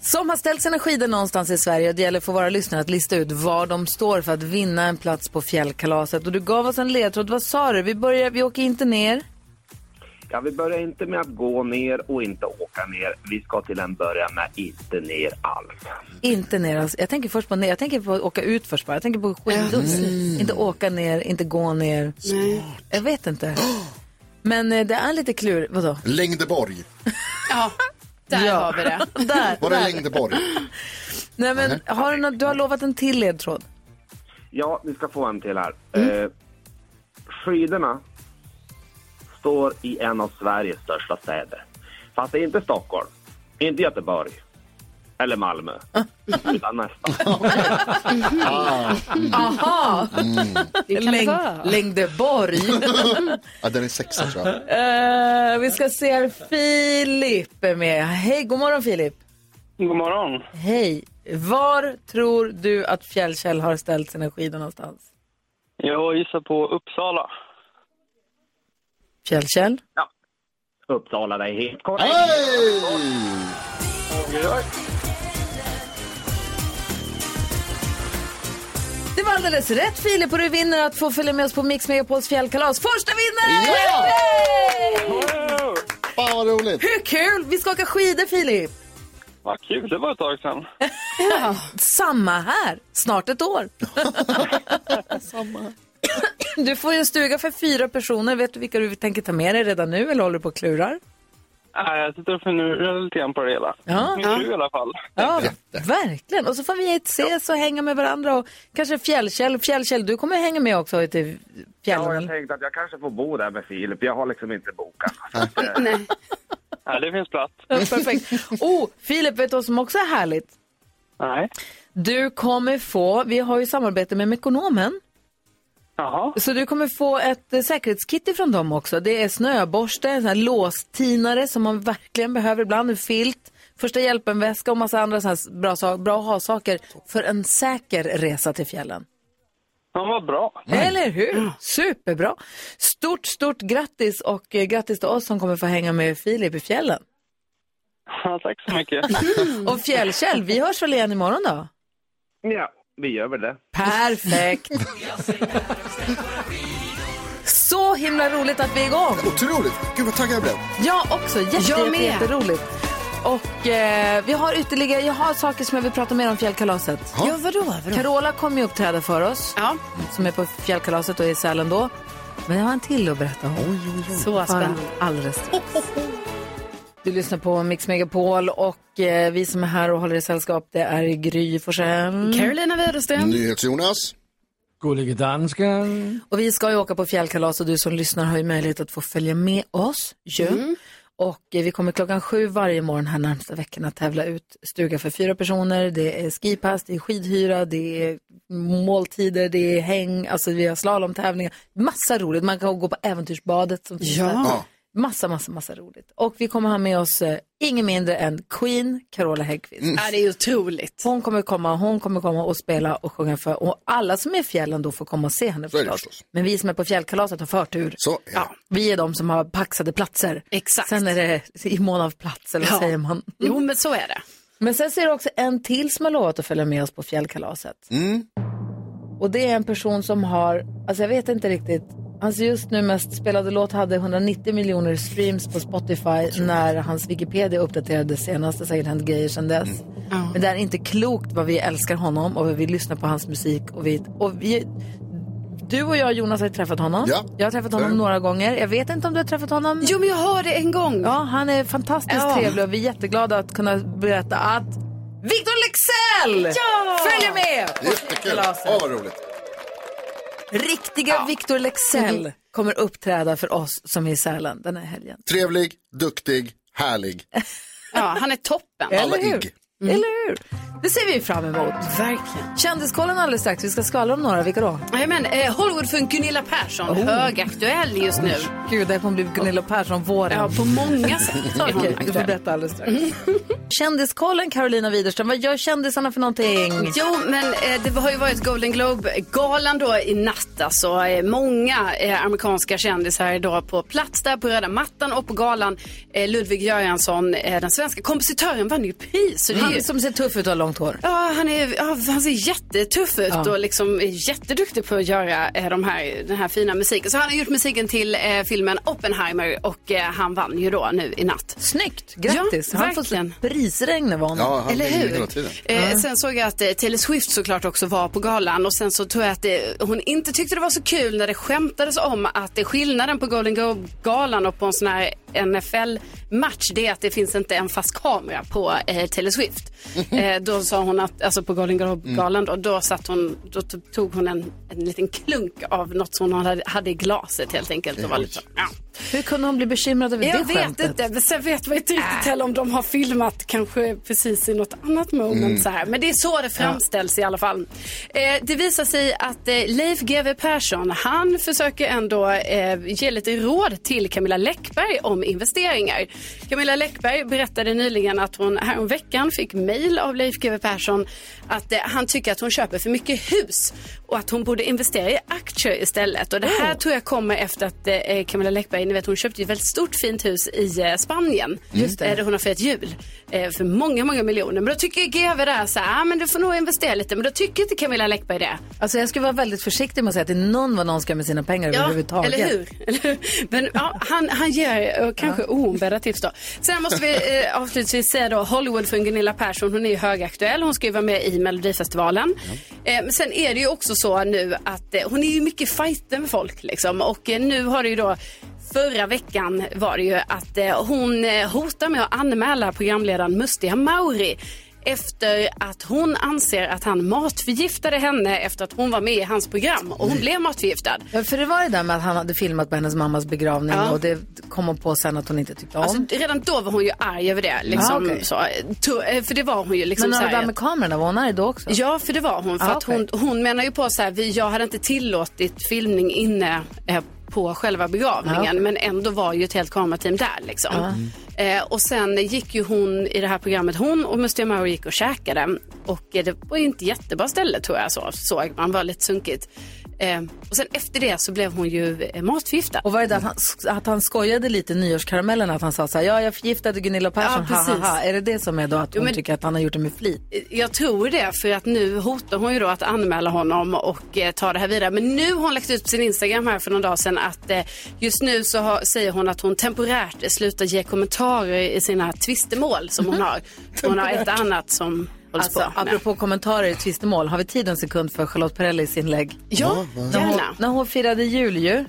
som har ställt sina skidor någonstans i Sverige och det gäller för våra lyssnare att lista ut var de står för att vinna en plats på fjällkalaset. Och du gav oss en ledtråd. Vad sa du? Vi, börjar, vi åker inte ner.
Ja, vi börjar inte med att gå ner och inte åka ner. Vi ska till en början med inte ner alls.
Inte ner. Alltså, jag tänker först på ner. Jag tänker på att åka ut först bara. Jag tänker på skidor. Inte åka ner, inte gå ner. Jag vet inte. Men eh, det är lite klur. Vadå?
Längdeborg.
ja. Där
Ja.
har vi det.
(laughs) Där.
Var det Längdeborg?
Nej, men, har du, något, du har lovat en till ledtråd.
Mm. Ja, vi ska få en till här. Eh, skidorna står i en av Sveriges största städer. Fast det är inte Stockholm, inte Göteborg eller (laughs) Malmö, utan nästan. (laughs)
Aha!
Det kan det
Mm. Läng,
vara.
Längdeborg.
Ja, den är sexa tror jag.
Eh, vi ska se här, Filip är med. Hej, god morgon Filip.
God morgon.
Hej. Var tror du att Fjällkäll har ställt sina skidor någonstans?
Jag gissar på Uppsala.
Fjällkäll?
Uppsala, det är helt korrekt.
Hej!
Det var alldeles rätt Filip och du vinner att få följa med oss på Mix Megapols fjällkalas. Första vinnaren!
Ja!
Yay!
Fan vad roligt.
Hur kul! Vi ska åka skidor Filip.
Vad kul, det var ett tag sedan.
Samma här, snart ett år. Du får ju en stuga för fyra personer. Vet du vilka du tänker ta med dig redan nu eller håller du på och klurar?
Nej, jag sitter och funderar lite grann på det hela.
Ja.
Min fru i alla fall.
Ja, verkligen. Och så får vi hit ses och hänga med varandra och kanske Fjällkäll. Fjällkäll, du kommer hänga med också till
Ja,
fjällen.
jag tänkte att jag kanske får bo där med Filip. Jag har liksom inte bokat.
Nej.
Nej, det finns plats.
Ja, Perfekt. Oh, Filip, vet du vad som också är härligt?
Nej.
Du kommer få, vi har ju samarbete med Mekonomen,
Jaha.
så du kommer få ett eh, säkerhetskit ifrån dem också. Det är snöborste, en sån här låstinare som man verkligen behöver ibland, en filt, första hjälpen-väska och massa andra sån här bra, sa- bra att ha-saker för en säker resa till fjällen.
Ja, vad bra.
Eller hur? Superbra. Stort, stort grattis och eh, grattis till oss som kommer få hänga med Filip i fjällen.
Ja, tack så mycket.
Och Fjällkäll, vi hörs väl igen imorgon då?
Ja, vi gör väl det.
Perfekt! Så himla roligt att vi är igång!
Otroligt. Gud vad taggad jag blev.
Jag också, jätte,
Jag
jätte,
med.
jätteroligt. Och eh, vi har ytterligare, jag har saker som jag vill prata mer om fjällkalaset.
Ja, vadå? vadå?
Carola kommer ju uppträda för oss,
Ja,
som är på fjällkalaset och i Sälen då. Men jag har en till att berätta om.
så
Bara
spännande.
alldeles strax. Du lyssnar på Mix Megapol och eh, vi som är här och håller i sällskap det är Gry Forssell.
Carolina Widerström.
NyhetsJonas.
Gullige dansken.
Och vi ska ju åka på fjällkalas och du som lyssnar har ju möjlighet att få följa med oss ju. Och eh, vi kommer klockan sju varje morgon här närmsta veckorna tävla ut stuga för fyra personer. Det är skipass, det är skidhyra, det är måltider, det är häng, alltså vi har slalomtävlingar. Massa roligt, man kan gå på äventyrsbadet som finns här.
Ja.
Massa, massa, massa roligt. Och vi kommer ha med oss eh, ingen mindre än Queen Carola Häggkvist.
Mm.
Ja, det är otroligt.
Hon kommer komma, hon kommer komma och spela och sjunga för och alla som är i fjällen då får komma och se henne
Så är det
förstås.
förstås.
Men vi som är på fjällkalaset har förtur.
Så är det.
Vi är de som har paxade platser.
Exakt.
Sen är det i mån av plats eller vad
Ja.
säger man.
Jo, men så är det.
Men sen så är det också en till som har lovat att följa med oss på fjällkalaset.
Mm.
Och det är en person som har, alltså jag vet inte riktigt, hans just nu mest spelade låt hade 190 miljoner streams på Spotify när hans Wikipedia uppdaterades senast. Det har säkert hänt grejer sedan dess.
Mm.
Men det är inte klokt vad vi älskar honom och vad vi lyssnar på hans musik. Och vi, och vi, du och jag Jonas har ju träffat honom.
Ja.
Jag har träffat honom
Mm.
några gånger. Jag vet inte om du har träffat honom.
Jo, men jag hörde en gång.
Ja, han är fantastiskt
Ja.
trevlig och vi är jätteglada att kunna berätta att Victor Lexell följer med! på
Jättekul.
kalaset.
Åh vad roligt.
Riktiga Victor Lexell kommer uppträda för oss som är i Sälen den här helgen.
Trevlig, duktig, härlig.
Ja, han är toppen.
Alla
Eller hur?
igg.
Eller hur? Det ser vi fram emot.
Verkligen.
Kändiskollen alldeles strax. Vi ska skvallra om några. Vilka då?
Jajamän, eh, Hollywoodfrun Gunilla Persson, högaktuell just nu.
Gud, det här kommer bli Gunilla Persson-våren.
Ja, på många sätt. är hon
Okej, du får
aktuell.
berätta alldeles strax. Kändiskollen, Carolina Widerström. Vad gör kändisarna för någonting?
Jo, men eh, det har ju varit Golden Globe-galan då i natt. Alltså, eh, många eh, amerikanska kändisar idag på plats där på röda mattan och på galan. Eh, Ludvig Göransson, eh, den svenska kompositören, vann ju pris. Så det är ju...
Han som ser tuff ut och har långt hår.
Ja, han, är, ja, han ser jättetuff ut och liksom är jätteduktig på att göra eh, de här, den här fina musiken. Så han har gjort musiken till eh, filmen Oppenheimer och eh, han vann ju då nu i natt.
Snyggt! Grattis!
Ja,
han får
verkligen.
så prisregn över honom.
Ja, han
Eller
Eller
hur?
hela tiden.
Eh, Sen såg jag att eh, Taylor Swift såklart också var på galan och sen så tror jag att det, hon eh, inte tyckte det var så kul när det skämtades om att det skillnaden på Golden Globe-galan och på en sån här NFL-match det är att det finns inte en fast kamera på eh, Taylor Swift. Eh, då sa hon att, alltså på Golden Globe-galan då, då, satt hon, då t- tog hon en, en liten klunk av något som hon hade, hade i glaset helt enkelt. Och var lite, så, ja.
Hur kunde hon bli bekymrad över
Jag
det
vet
skämtet? Äh.
inte, men sen vet man inte riktigt heller om de har filmat kanske precis i något annat moment så här. Men det är så det framställs i alla fall. Eh, det visar sig att eh, Leif GW Persson, han försöker ändå eh, ge lite råd till Camilla Läckberg om investeringar. Camilla Läckberg berättade nyligen att hon häromveckan fick mejl av Leif GW Persson att eh, han tycker att hon köper för mycket hus och att hon borde investera i aktier istället. Och det här tror jag kommer efter att eh, Camilla Läckberg, ni vet hon köpte ju ett väldigt stort fint hus i eh, Spanien. Just det. Där hon har firat jul eh, för många, många miljoner. Men då tycker GW där så här, ah, men du får nog investera lite. Men då tycker inte Camilla Läckberg det.
Alltså jag skulle vara väldigt försiktig med att säga till någon vad någon ska med sina pengar överhuvudtaget.
eller hur? (laughs) Eller hur? Men ja, han, han ger eh, kanske oombedda tips då. Sen måste vi eh, avslutningsvis säga då Hollywood för Gunilla Persson. Hon är ju högaktuell. Hon ska ju vara med i Melodifestivalen. Eh, men sen är det ju också så nu att eh, hon är ju mycket i fighten med folk liksom. Och eh, nu har det ju då Förra veckan var det ju att eh, hon eh, hotar med att anmäla programledaren Mustiga Mauri efter att hon anser att han matförgiftade henne efter att hon var med i hans program och hon blev matförgiftad.
Ja, för det var det där med att han hade filmat på hennes mammas begravning
Ja.
och det kom hon på sen att hon inte tyckte om.
Alltså, redan då var hon ju arg över det. Liksom,
Ah, okej.
så, Tu- eh, för det var hon ju. Liksom,
Men
så
när det
här,
där med kamerorna, var hon arg då också?
Ja, för det var hon. För
Ah,
att
okej.
hon, hon menar ju på så här, vi, jag hade inte tillåtit filmning inne eh, på själva begravningen.
Ah, okej. Ah.
Men ändå var ju ett helt kamerateam där. Liksom. Eh, och sen gick ju hon i det här programmet, hon och Mustiga Mauro gick och käkade. Och eh, det var ju inte jättebra ställe tror jag, så, såg man. var lite sunkigt. Eh, och sen efter det så blev hon ju eh, matförgiftad.
Och var det där att han, att han skojade lite i nyårskaramellen, att han sa så här, ja jag förgiftade Gunilla Persson,
Ja,
ha, ha,
precis.
ha. Är det det som är då att hon
men-
tycker att han har gjort det med flit?
Jag tror det, för att nu hotar hon ju då att anmäla honom och eh, ta det här vidare. Men nu har hon lagt ut på sin Instagram här för någon dag sedan att eh, just nu så har, säger hon att hon temporärt slutar ge kommentarer i sina tvistemål som hon har. Hon har ett annat som hålls
Alltså,
på. med.
apropå kommentarer i tvistemål, har vi tid en sekund för Charlotte Perrellis inlägg?
Ja,
När hon,
gärna.
när hon firade jul ju,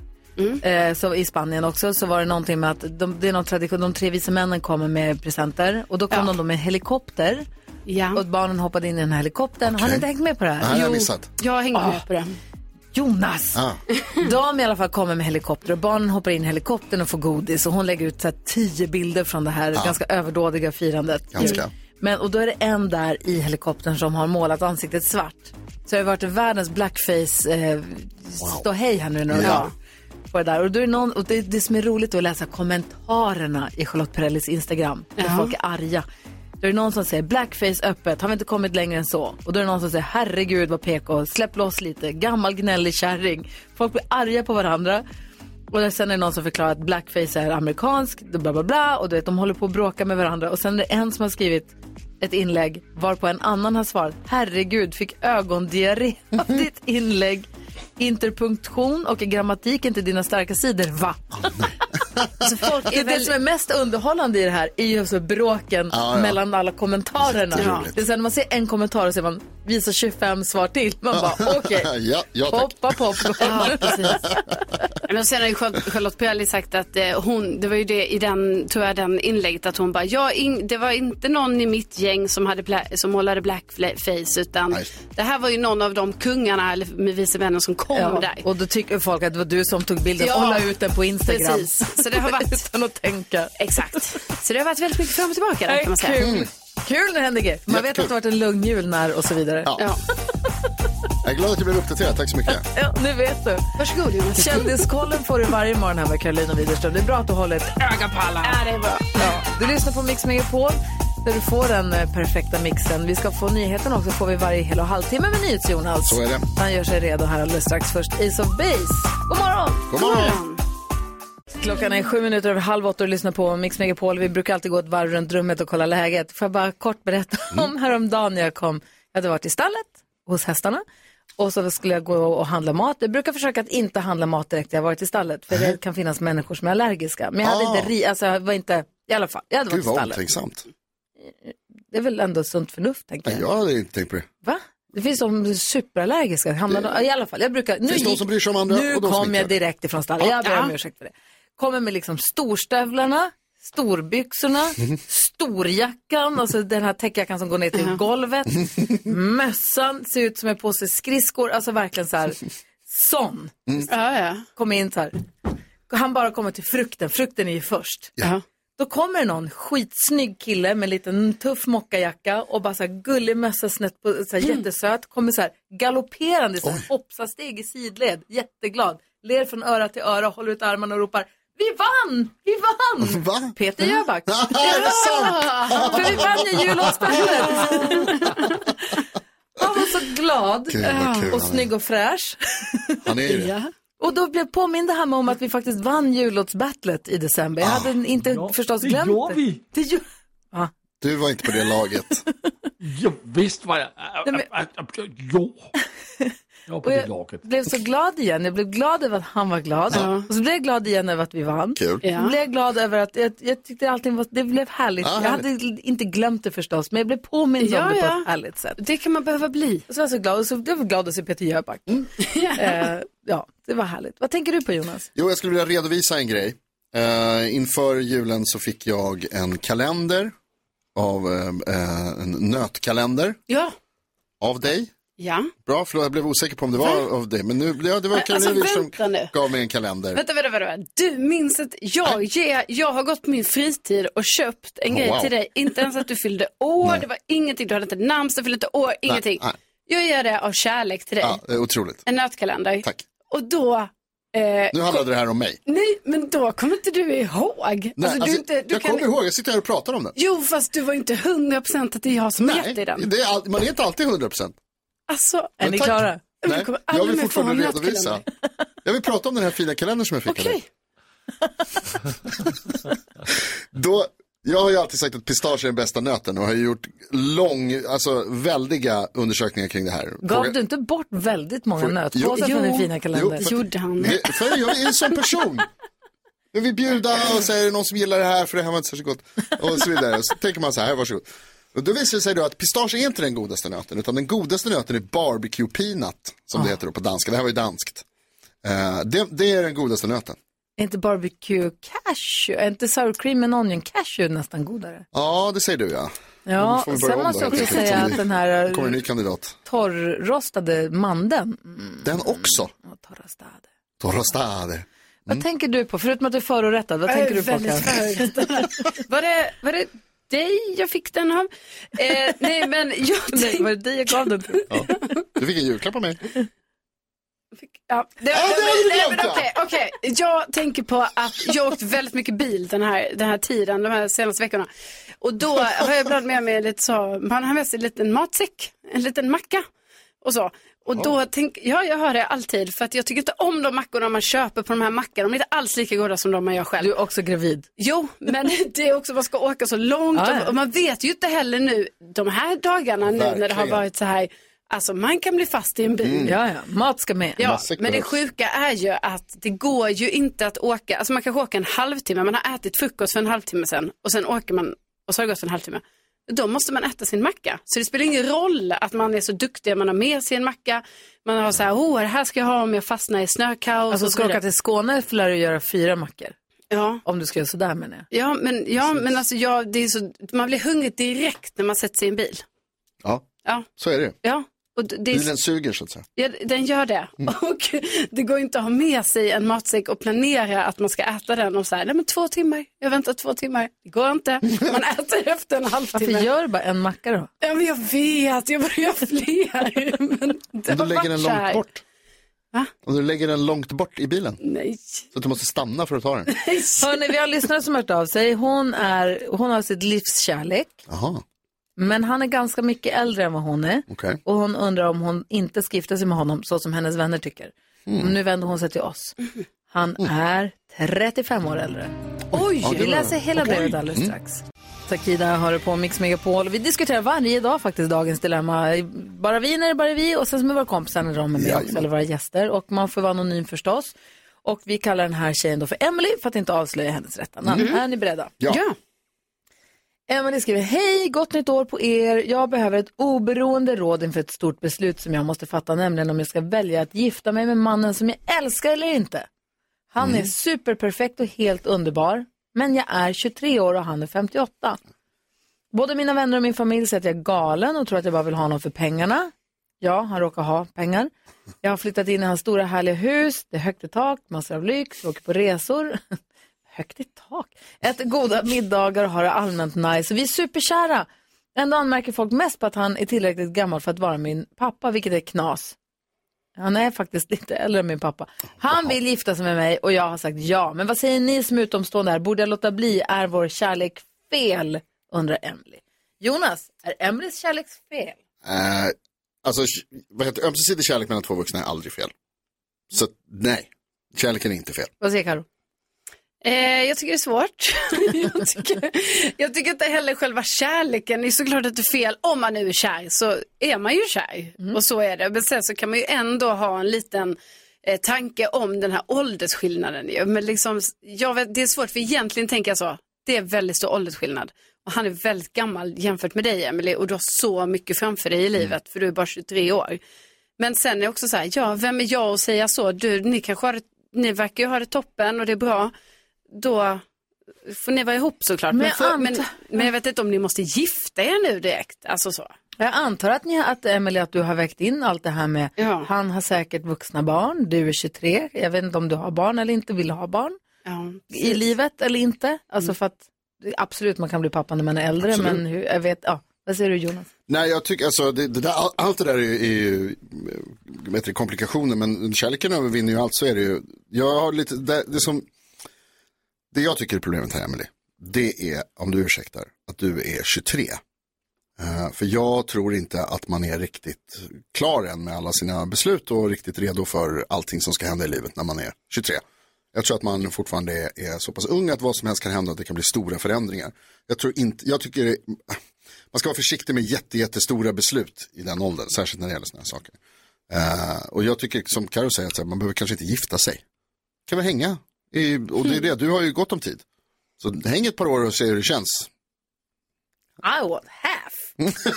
eh, så, i Spanien också, så var det någonting med att de, det är någon tradition, de tre vise männen kommer med presenter och då kom
Ja.
de då med en helikopter
Ja.
och barnen hoppade in i den här helikoptern. Har ni inte hängt med på det
Det här
här?
har jag missat.
Jag hänger med på det.
Jonas!
Ah.
(laughs) De i alla fall kommer med helikopter och barnen hoppar in i helikoptern och får godis och hon lägger ut så här tio bilder från det här ganska överdådiga firandet.
Ganska.
Men, och då är det en där i helikoptern som har målat ansiktet svart. Så det har varit världens blackface eh, ståhej här nu några
Ja.
dagar. På det där. Och, då är det någon, och det, det som är roligt är att läsa kommentarerna i Charlotte Perrellis Instagram. Där
Ja.
folk är arga. Då är det någon som säger blackface öppet, har vi inte kommit längre än så? Och då är det någon som säger herregud vad PK, släpp loss lite, gammal gnällig kärring. Folk blir arga på varandra. Och sen är det någon som förklarar att blackface är amerikansk, bla bla bla. Och du vet, de håller på att bråka med varandra. Och sen är det en som har skrivit ett inlägg varpå en annan har svarat herregud, fick ögondiarré
(laughs)
av ditt inlägg. Interpunktion och grammatik är inte dina starka sidor, va?
Så folk
Det,
är
är det
väl...
som är mest underhållande i det här är ju så bråken
Ja, ja.
mellan alla kommentarerna.
Jätteroligt.
Det är så här, när man ser en kommentar och ser man visar 25 svar till. Man
(laughs)
bara okej,
ja, ja tack.
poppa popcorn.
Men sen har ju Charl- Charlotte Perrelli sagt att eh, hon, det var ju det i den, tror jag, den inlägget att hon bara, ja, in, det var inte någon i mitt gäng som, hade bla, som målade blackface utan
Nej.
det här var ju någon av de kungarna eller med vice männen som kom
Ja,
där.
och då tycker folk att det var du som tog bilden
Ja.
och la ut den på Instagram.
Precis, så det har varit,
(laughs) Utan att tänka.
exakt. Så det har varit väldigt mycket fram och tillbaka där kan man säga. Mm.
Kul. Kul när det händer grejer. Man vet
Jättekul.
att det har varit en lugn jul när och så vidare.
Ja.
Ja.
Jag är glad att jag blev uppdaterad, tack så mycket.
Ja, nu vet du.
Varsågod Jonas.
Kändiskollen får du varje morgon här med Carolina Widerström. Det är bra att du håller ett öga på alla.
Ja, det är bra.
Ja. Du lyssnar på Mix Megapol där du får den eh, perfekta mixen. Vi ska få nyheterna också, får vi varje hel och halvtimme med NyhetsJonas.
Så är det.
Han gör sig redo här alldeles strax. Först Ace of Base. God morgon!
God morgon.
Klockan är sju minuter över halv åtta och lyssnar på Mix Megapol. Vi brukar alltid gå ett varv runt rummet och kolla läget. Får jag bara kort berätta
Mm.
om häromdagen när jag kom. Jag hade varit i stallet hos hästarna och så skulle jag gå och handla mat. Jag brukar försöka att inte handla mat direkt när jag varit i stallet för det kan finnas människor som är allergiska. Men jag hade
Ah.
inte, ri- alltså jag var inte, i alla fall, jag hade
Gud
varit i
vad
stallet.
omtänksamt.
Det är väl ändå sunt förnuft tänker
Nej,
jag.
jag hade inte tänkt på det. (laughs)
Va? Det finns de superallergiska. Hamnar de, I alla fall, jag brukar... Nu,
Finns de
gick-
som bryr sig om andra
nu
och de som
kom
inte
jag
gör det.
direkt ifrån stallet. Jag ber om ursäkt för det. Kommer med liksom storstövlarna, storbyxorna, storjackan, alltså den här täckjackan som går ner till golvet. Mössan ser ut som en påse skridskor, alltså verkligen så här, sån.
Ja, ja.
Kom in så här. Han bara kommer till frukten, frukten är ju först.
Ja.
Då kommer det någon skitsnygg kille med en liten tuff mockajacka och bara så här gullig mössa snett på, så här
Mm.
jättesöt. Kommer så här galopperande, så här hoppsasteg i sidled, jätteglad. Ler från öra till öra, håller ut armarna och ropar Vi vann! Vi vann!
Va?
Peter Jöback.
Är det sant?
(laughs) För vi vann ju jullåtsspelet.
(laughs)
Han var så glad
Gud, vad kul
och
han är.
snygg och fräsch.
Han är ju det.
Och då blev påminde han mig om att vi faktiskt vann jullåtsbattlet i december. Jag hade inte förstås
det
glömt
gjorde vi.
Det gjorde
Du var inte på det laget.
Jo, visst var jag...
Nej,
Jo. Jag var på
Och
det
jag-
laget.
blev så glad igen. Jag blev glad över att han var glad. Och så blev jag glad igen över att vi vann.
Kul.
Ja.
Jag blev glad över att jag, jag tyckte allting var, det blev härligt.
Ja,
jag hade inte glömt det förstås, men jag blev påmind
Ja,
om det på
ja.
ett härligt sätt.
Det kan man behöva bli.
Och så var jag så glad, och så jag var glad att se Peter Jöback. eh, ja, det var härligt. Vad tänker du på Jonas?
Jo, jag skulle vilja redovisa en grej. Eh, inför julen så fick jag en kalender av eh, eh, en nötkalender
Ja.
av dig.
Ja.
Bra, förlåt, jag blev osäker på om det var av dig. Men nu, ja, det var
Men
Karolina
alltså,
Wiberg
vänta
som
nu.
gav mig en kalender.
Vänta, vänta, vänta, vänta. Du minns att jag, ger, jag har gått på min fritid och köpt en
Oh,
grej
wow.
till dig. Inte ens att du fyllde år, det var ingenting. Du hade inte namnsdag, fyllde inte år, ingenting.
nej.
Jag gör det av kärlek till dig.
Ja, det är otroligt.
En nötkalender.
Tack.
Och då... Eh,
Nu handlade det här om mig.
nej, men då kommer inte du ihåg.
Nej,
Alltså, du
alltså,
inte, du
jag kommer ihåg, jag sitter här och pratar om den.
Jo, fast du var inte 100% att det är jag som har gett dig den.
det är all, man är inte alltid 100 procent.
Alltså,
Är ni
tack.
klara?
Men du kommer
Jag
aldrig
vill
mer få en
fortfarande
nötkalender.
redovisa. Jag vill prata om den här fina kalendern som jag fick av dig.
okej.
Då, jag har ju alltid sagt att pistage är den bästa nöten och har ju gjort lång, alltså väldiga undersökningar kring det här.
Gav
Fråga-
du inte bort väldigt många
Fråga-
nötpåsar
Jo.
från din fina kalender?
Jo,
Gjorde han?
Det- För jag är en sån person. Jag vill bjuda och säga är det någon som gillar det här för det här var inte särskilt gott. Och så vidare. Så tänker man så här, varsågod. Och då visar det sig då att pistage är inte den godaste nöten utan den godaste nöten är barbecue peanut som
Ah.
det heter då på danska. Det här var ju danskt. Eh, det, det är den godaste nöten.
Är inte barbecue cashew, är inte sour cream and onion cashew nästan godare?
Ja, det säger du ja. Då
Ja,
får vi börja
sen
om
måste
då,
jag också
helt enkelt,
säga
om
att
vi-
den
Då
här eh,
kommer en ny kandidat.
torrrostade Mm, mandeln,
Den också.
Ja, torrrostade.
Torrostade.
Vad
Mm.
tänker du på? Förutom att du är förorättad, vad tänker du på?
väldigt
Karin?
Var det, var det dig jag fick den av? Eh, nej, men jag
Nej,
tänkte...
var det dig jag gav den till?
Du fick en julklapp av mig.
Ja, det,
Ja, det hade du
nej,
glömt,
men okej, okej. Jag tänker på att jag har åkt väldigt mycket bil den här, den här tiden, de här senaste veckorna. Och då har jag ibland med mig lite så, man har med sig en liten matsäck, en liten macka och så. Och då tänk, ja, jag hör det alltid, för att jag tycker inte om de mackorna man köper på de här mackarna. De är inte alls lika goda som de man gör själv.
Du är också gravid.
Jo, men (laughs) det är också, man ska åka så långt
Ja, ja.
och, och man vet ju inte heller nu, de här dagarna nu när det har
Verkligen.
varit så här, alltså man kan bli fast i en bil.
Mm.
Ja, ja, mat ska med.
Ja,
Massa
men det
kurs.
sjuka är ju att det går ju inte att åka, alltså man kanske åker en halvtimme, man har ätit frukost för en halvtimme sen och sen åker man och så har det gått en halvtimme. Då måste man äta sin macka. Så det spelar ingen roll att man är så duktig, man har med sig en macka, man har så här, oh, det här ska jag ha om jag fastnar i snökaos.
Alltså
och så
ska du åka
vidare.
till Skåne för lär du göra fyra mackor.
ja.
Om du ska göra sådär menar jag.
Ja, men, ja, men alltså, ja, det är så, man blir hungrig direkt när man sätter sig i en bil.
Ja,
Ja,
så är det ju.
ja. Och d- det är,
Bilen suger så att säga.
ja, den gör det.
Mm.
(laughs) Och det går inte att ha med sig en matsäck och planera att man ska äta den om så här, nej men två timmar, jag väntar två timmar. Det går inte.
(laughs)
Man äter efter en
Varför
halvtimme.
gör du bara en macka då?
Ja, men jag vet, jag borde
(laughs)
göra fler. Men det
Om du
har
lägger den
varit så
långt
här.
bort.
Va?
Om du lägger den långt bort i bilen.
Nej. (laughs)
Så att du måste stanna för att ta den.
Hörni, vi har en lyssnare som har hört av sig. Hon, är, hon har sitt livs kärlek,
Jaha,
men han är ganska mycket äldre än vad hon är.
okej.
Och hon undrar om hon inte ska gifta sig med honom så som hennes vänner tycker. Nu vänder hon sig till oss. Han är 35 år äldre. Oj! Vi läser hela brevet alldeles strax. Takida har det på Mix Megapol. Vi diskuterar varje dag faktiskt dagens dilemma. Bara vi när det bara är vi och sen så med våra kompisar när de är med också, eller våra gäster. Och man får vara anonym förstås. Och vi kallar den här tjejen då för Emily för att inte avslöja hennes rätta namn. Är ni beredda?
Ja.
Emelie skriver, hej, gott nytt år på er. Jag behöver ett oberoende råd inför ett stort beslut som jag måste fatta, nämligen om jag ska välja att gifta mig med mannen som jag älskar eller inte. Han är superperfekt och helt underbar. Men jag är 23 år och han är 58. Både mina vänner och min familj säger att jag är galen och tror att jag bara vill ha honom för pengarna. Ja, han råkar ha pengar. Jag har flyttat in i hans stora härliga hus. Det är högt i tak, massor av lyx, vi åker på resor. (laughs) högt i tak. Äter goda middagar och har det allmänt nice. Och vi är superkära. Ändå anmärker folk mest på att han är tillräckligt gammal för att vara min pappa, vilket är knas. Han är faktiskt lite äldre än min pappa. Han vill gifta sig med mig och jag har sagt ja. Men vad säger ni som är utomstående här? Borde jag låta bli? Är vår kärlek fel? Undrar Emily. Jonas, är Emelies kärlek fel?
Eh, alltså, vad heter, det? ömsesidig kärlek mellan två vuxna är aldrig fel. Så att, nej, kärleken är inte fel.
Vad säger Karo?
Eh, jag tycker det är svårt. (laughs) jag, tycker, jag tycker inte heller själva kärleken det är såklart att det är fel. Om man nu är kär så är man ju kär.
Mm.
Och så är det. Men sen så kan man ju ändå ha en liten eh, tanke om den här åldersskillnaden. ju. Men liksom, jag vet, det är svårt för egentligen tänker jag så. Det är väldigt stor åldersskillnad. Och han är väldigt gammal jämfört med dig Emily och du har så mycket framför dig i livet för du är bara 23 år. Men sen är det också så här, ja vem är jag att säga så? Du, ni kanske har det, ni verkar ju ha det toppen och det är bra då får ni vara ihop såklart. Men,
Men
för, men,
anta-
men jag vet inte om ni måste gifta er nu direkt. Alltså så.
Jag antar att, ni, att Emily, att du har vägt in allt det här med
Ja.
han har säkert vuxna barn, du är 23, jag vet inte om du har barn eller inte, vill ha barn
Ja,
i livet eller inte. Alltså för att absolut man kan bli pappa när man är äldre,
Absolut.
men hur, jag vet, ja. Vad säger du Jonas?
Nej, jag tycker alltså, det, det där, all- allt det där är ju, är ju vad heter det, komplikationer, men kärleken övervinner ju allt, så är det ju. Jag har lite, det, det som, det jag tycker är problemet här, Emily, det är, om du ursäktar, att du är 23. Eh, för jag tror inte att man är riktigt klar än med alla sina beslut och riktigt redo för allting som ska hända i livet när man är 23. Jag tror att man fortfarande är, är så pass ung att vad som helst kan hända, att det kan bli stora förändringar. Jag tror inte, jag tycker det- man ska vara försiktig med jätte, jättestora beslut i den åldern, särskilt när det gäller sådana här saker. Eh, och jag tycker som Carro säger, att så här, man behöver kanske inte gifta sig. Kan väl hänga, i, och det är det, du har ju gott om tid. Så häng ett par år och se hur det känns.
I want
(laughs)
half.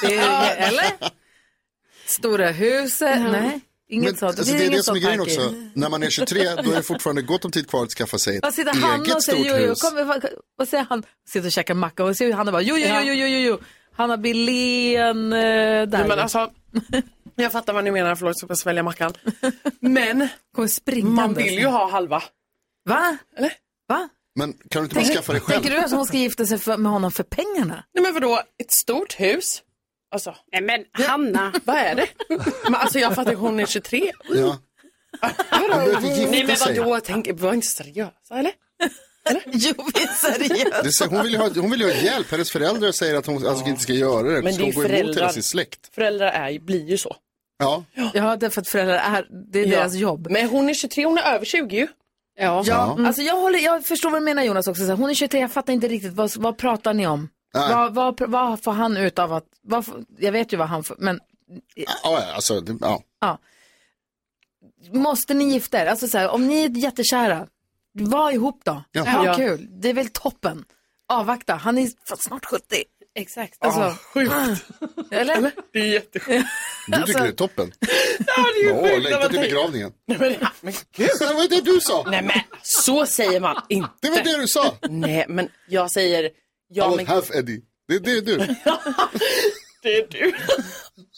Det är- Eller? Stora huset, nej. Inget
Men,
sånt.
alltså, det är
inget
det som är
sånt
grejen
parti.
också, när man är 23 då är det fortfarande gott om tid kvar att skaffa sig ett
Vad sitter Hanna
eget
och säger? Jo,
stort
jo,
hus.
kom, vad- vad säger han? Sitter och käkar macka och ser hur Hanna bara, jo, jo, jo, jo, jo, jo, jo. Hanna Billén, eh, där.
Men
(laughs)
alltså, jag fattar vad ni menar, förlåt så jag svälja mackan. Men
kommer springande.
man vill ju ha halva.
Va? Eller? Va?
Men kan du inte bara skaffa dig själv?
Tänker du att hon ska gifta sig för, med honom
(laughs)
för pengarna?
Nej men vadå, ett stort hus? Alltså,
Nej men Hanna.
vad är det? Men alltså jag fattar, hon är 23.
Ja. Man behöver inte
Nej
gifta
men
sig.
vadå, tänk, var inte seriösa eller?
Jo, vi är seriösa.
Det är, hon, vill ju ha, hon vill ju ha hjälp, hennes föräldrar säger att hon alltså, inte ska göra det.
Men
så
det är
hon
ju
går emot hela
föräldrar.
sin släkt.
Föräldrar är, ju- blir ju så.
Ja,
Ja, därför att föräldrar är, det är
Ja.
deras jobb.
Men hon är 23, hon är över 20 ju.
Ja.
Ja.
Mm. Alltså jag, håller, jag förstår vad du menar Jonas också. Så här, hon är 23, jag fattar inte riktigt. Vad, vad pratar ni om?
Nej.
Vad, vad, pr- vad får han ut av att... Vad får, jag vet ju vad han får, men
ja alltså, det, ja.
måste ni gifta er? Alltså så här, om ni är jättekära, var ihop då.
Ja.
Ha
Ja.
kul, det är väl toppen. Avvakta, han är fan snart 70.
Exakt.
Alltså, (laughs) Eller?
Det är jättesjukt.
Du tycker det är toppen.
Alltså- (laughs) Ja, det är ju
Åh,
sjukt när
längtar
man
till
tänker-
begravningen.
Nej,
(laughs)
men- men gud.
Det var det du sa.
Nej men så säger man inte.
Det var det du sa.
Nej men jag säger, ja
All
men
half Eddie. Det, det är du.
det är du.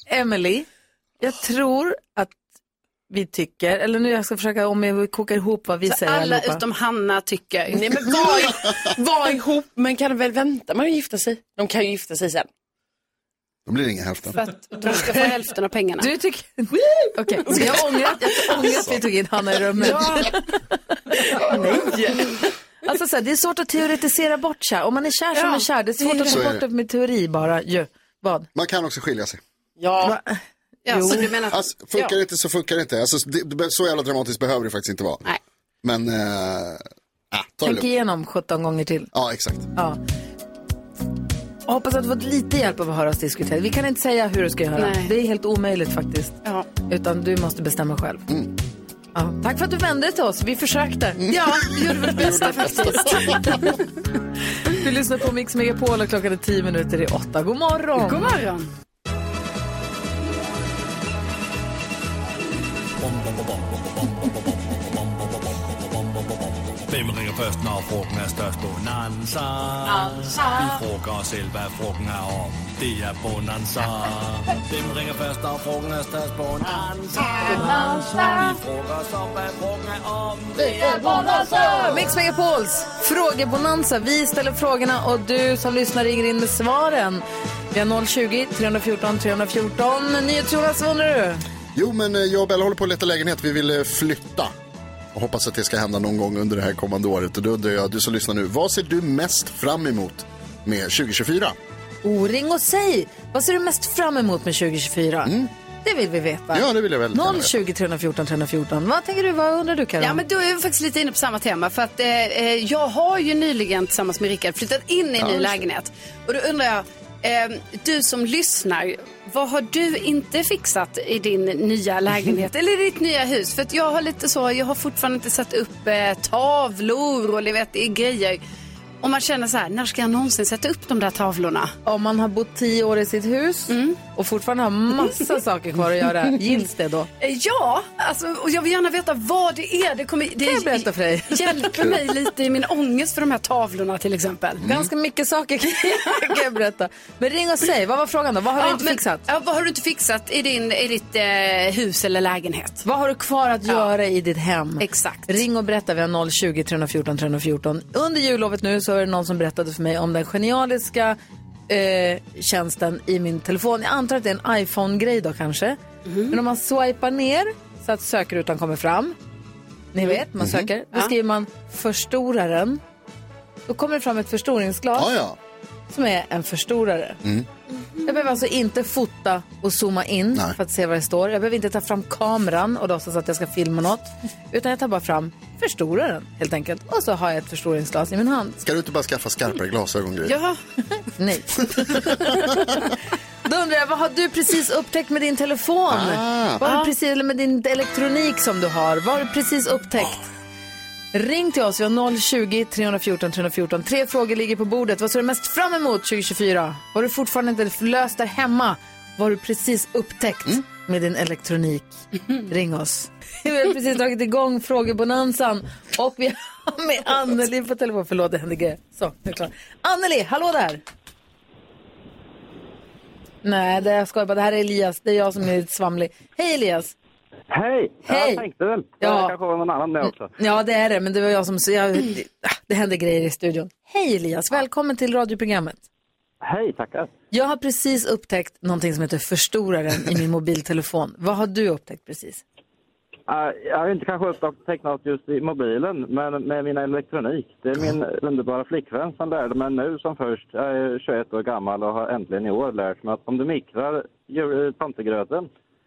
Emily, jag tror att vi tycker, eller nu jag ska försöka om jag kokar ihop vad vi säger
Alla
allihopa.
utom Hanna tycker.
Nej men var, i- var ihop, men kan väl vänta med att gifta sig? De kan ju gifta sig sen.
Då blir det ingen hälften.
För att de ska få hälften av pengarna.
Du tycker... Okej, jag ångrar jag ångrar att vi tog in Hanna i rummet. Alltså så här, det är svårt att teoretisera bort kär. Om man är kär så är man kär. Det är svårt att
Så
ta
är
bort
det.
det med teori bara. Ju. Vad?
Man kan också skilja sig.
Ja,
ja, så du menar,
Alltså, funkar det inte så funkar det inte. Alltså, det, det- så jävla dramatiskt behöver det faktiskt inte vara.
Nej.
Men, eh, ah, ta det
Tänk
lugnt.
igenom 17 gånger till.
Ja, exakt.
Ja. Jag hoppas att du fått lite hjälp av att höra oss diskutera. Vi kan inte säga hur du ska göra.
Nej.
Det är helt omöjligt faktiskt.
ja.
Utan du måste bestämma själv. Ja. Tack för att du vände dig till oss. Vi försökte.
ja, vi gjorde vårt bästa faktiskt.
Du lyssnar på Mix Megapol och klockan är 10 minuter i åtta. God morgon!
God morgon.
Hvem ringer først, når frugten er størst? Bonanza. Vi frugger os selv, hvad frugten er om. Det er Bonanza. Hvem ringer først, når frugten er størst? Bonanza. Vi frugger os om, hvad frugten er om. Det er Bonanza.
Mix Megapols frågebonanza. Vi ställer frågorna och du som lyssnar ringer in med svaren. Vi har 020-314 314. NyhetsJonas, vad undrar du?
Jo, men eh, jag och Bella håller på att leta lägenhet. Vi vill eh, flytta. Och hoppas att det ska hända någon gång under det här kommande året. Och då undrar jag, du som lyssnar nu, vad ser du mest fram emot med 2024?
O, ring och säg. Vad ser du mest fram emot med 2024? Det vill vi veta.
Mm. Ja, det vill jag väldigt gärna veta.
020 314 314. Vad tänker du? Vad undrar du, Karin?
Ja, men då är vi faktiskt lite inne på samma tema. För att eh, eh, jag har ju nyligen tillsammans med Rickard flyttat in i en
Ja,
ny
just det.
lägenhet. Och då undrar jag, eh, du som lyssnar, vad har du inte fixat i din nya lägenhet eller i ditt nya hus? För att jag har lite så, jag har fortfarande inte satt upp eh, tavlor och ni vet, det är grejer. Och man känner så här, när ska jag någonsin sätta upp de där tavlorna?
Om man har bott tio år i sitt hus och fortfarande har massa saker kvar att göra, gills det då?
Eh, Ja, alltså, och jag vill gärna veta vad det är. Det, kommer, det
jag berätta
(laughs)
för dig?
hjälper mig lite i min ångest för de här tavlorna till exempel.
Ganska mycket saker kan jag- (laughs) kan jag berätta. Men ring och säg, vad var frågan då? Vad har du
Ja,
inte
men-
fixat?
Ja, vad har du inte fixat i, din, i ditt eh, hus eller lägenhet?
Vad har du kvar att göra i ditt hem?
Exakt.
Ring och berätta, vi har 020 314 314. Under jullovet nu så är det någon som berättade för mig om den genialiska eh, tjänsten i min telefon. Jag antar att det är en iPhone-grej då kanske. Men om man swipar ner så att sökrutan kommer fram. Ni vet, man söker. Då skriver man förstoraren. Då kommer det fram ett förstoringsglas
Ah, Ja, ja.
som är en förstorare.
Mm.
Jag behöver alltså inte fota och zooma in
Nej.
för att se vad det står. Jag behöver inte ta fram kameran och låtsas att jag ska filma något. Utan jag tar bara fram förstoraren helt enkelt. Och så har jag ett förstoringsglas i min hand.
Ska du inte bara skaffa skarpare glasögongrejer?
Ja,
(laughs) Nej. Då undrar jag, vad har du precis upptäckt med din telefon?
Ah.
Vad har du precis, eller med din elektronik som du har? Vad har du precis upptäckt? Ring till oss, vi har 020 314 314. Tre frågor ligger på bordet. Vad ser du mest fram emot 2024? Vad har du fortfarande inte löst där hemma? Vad har du precis upptäckt med din elektronik? Ring oss. Vi har precis dragit igång frågebonanzan och vi har med Anneli på telefon. Förlåt, det hände grejer. Så, nu är jag klar. Anneli, hallå där! Nej, det är jag skojar bara. Det här är Elias. Det är jag som är lite svamlig. Hej Elias!
Hej!
Hej.
Jag tänkte väl.
Ja.
Ja. Det kanske var någon annan det också.
Ja, det är det, men det var jag som... Så jag, det, ah, det händer grejer i studion. Hej Elias, välkommen till radioprogrammet.
Hej, tackar.
Jag har precis upptäckt någonting som heter förstoraren i min mobiltelefon. Vad har du upptäckt precis?
Eh, jag har inte kanske upptäckt något just i mobilen, men med min elektronik. Det är min underbara flickvän som lärde mig nu som först. Jag är 21 år gammal och har äntligen i år lärt mig att om du mikrar jul- tomtegröten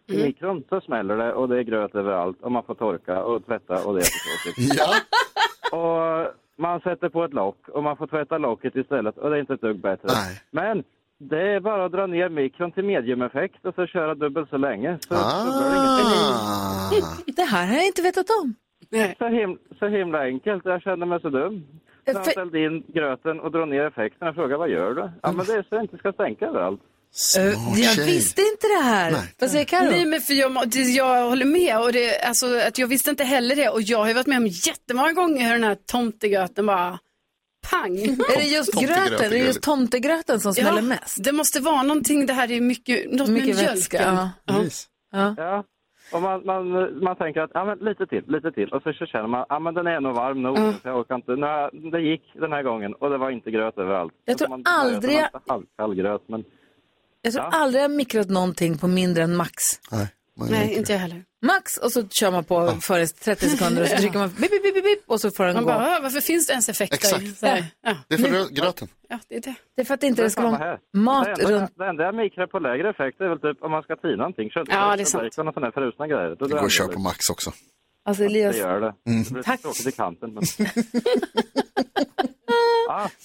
i mikron så smäller det och det är gröt överallt och man får torka och tvätta och det är så tråkigt.
(laughs)
Ja.
Och man sätter på ett lock och man får tvätta locket istället och det är inte ett dugg bättre.
Nej.
Men det är bara att dra ner mikron till mediumeffekt och så köra dubbelt så länge. Så, så, blir det ingenting.
Ah.
Det här har jag inte vetat om.
så, him- så himla enkelt, jag känner mig så dum. Så han
Eh, För-
ställde in gröten och drog ner effekten. Jag frågade vad gör du? Ja men det är så det inte ska stänka överallt.
Smart
Eh, jag
tjej.
visste inte det här.
Nej.
Vad säger Karo?
Nej, men för jag, må- det- jag håller med. Och det, alltså, att jag visste inte heller det. Och jag har ju varit med om jättemånga gånger hur den här tomtegröten bara (laughs) pang.
Är det just
Tomtegröt
gröten? Är det
är
just
gulligt.
tomtegröten som smäller
Ja,
mest?
Det måste vara någonting, det här är mycket, något
Mycket
med
vätska.
mjölken.
Ja.
Yes.
Ja. Och man, man, man tänker att ja, men lite till, lite till. Och så, så känner man ja, men den är nog varm nog.
Mm.
Så jag orkar inte. Nej, det gick den här gången och det var inte gröt överallt.
Jag tror
Så man-
aldrig-
det var inte halv- Kall gröt, men
Jag tror aldrig jag har mikrat någonting på mindre än max.
Nej, man gör
Nej,
inte
inte jag heller.
Max och så kör man på för 30 sekunder och så
(laughs)
trycker man bip, bip, bip, bip, bip, och så får den
Man
gå.
bara, "Ah, varför finns det ens effekter?
Exakt.
Så här, ja.
det. Det är för rö- gröten.
ja, det är det.
Det är för att inte det ska
samma
vara
här.
mat
det enda,
runt.
det enda jag mikrar på lägre effekt är väl typ om man ska tina någonting. Köttfärs
Ja, det är
och
sant.
bacon och sådana frusna grejer. Då
Det
drar
går
jag
att köra
det.
på Mm. Max också.
Alltså
Det
Elias,
gör det. Det blir
Tack.
tråkigt i kanten.
(laughs)
Men...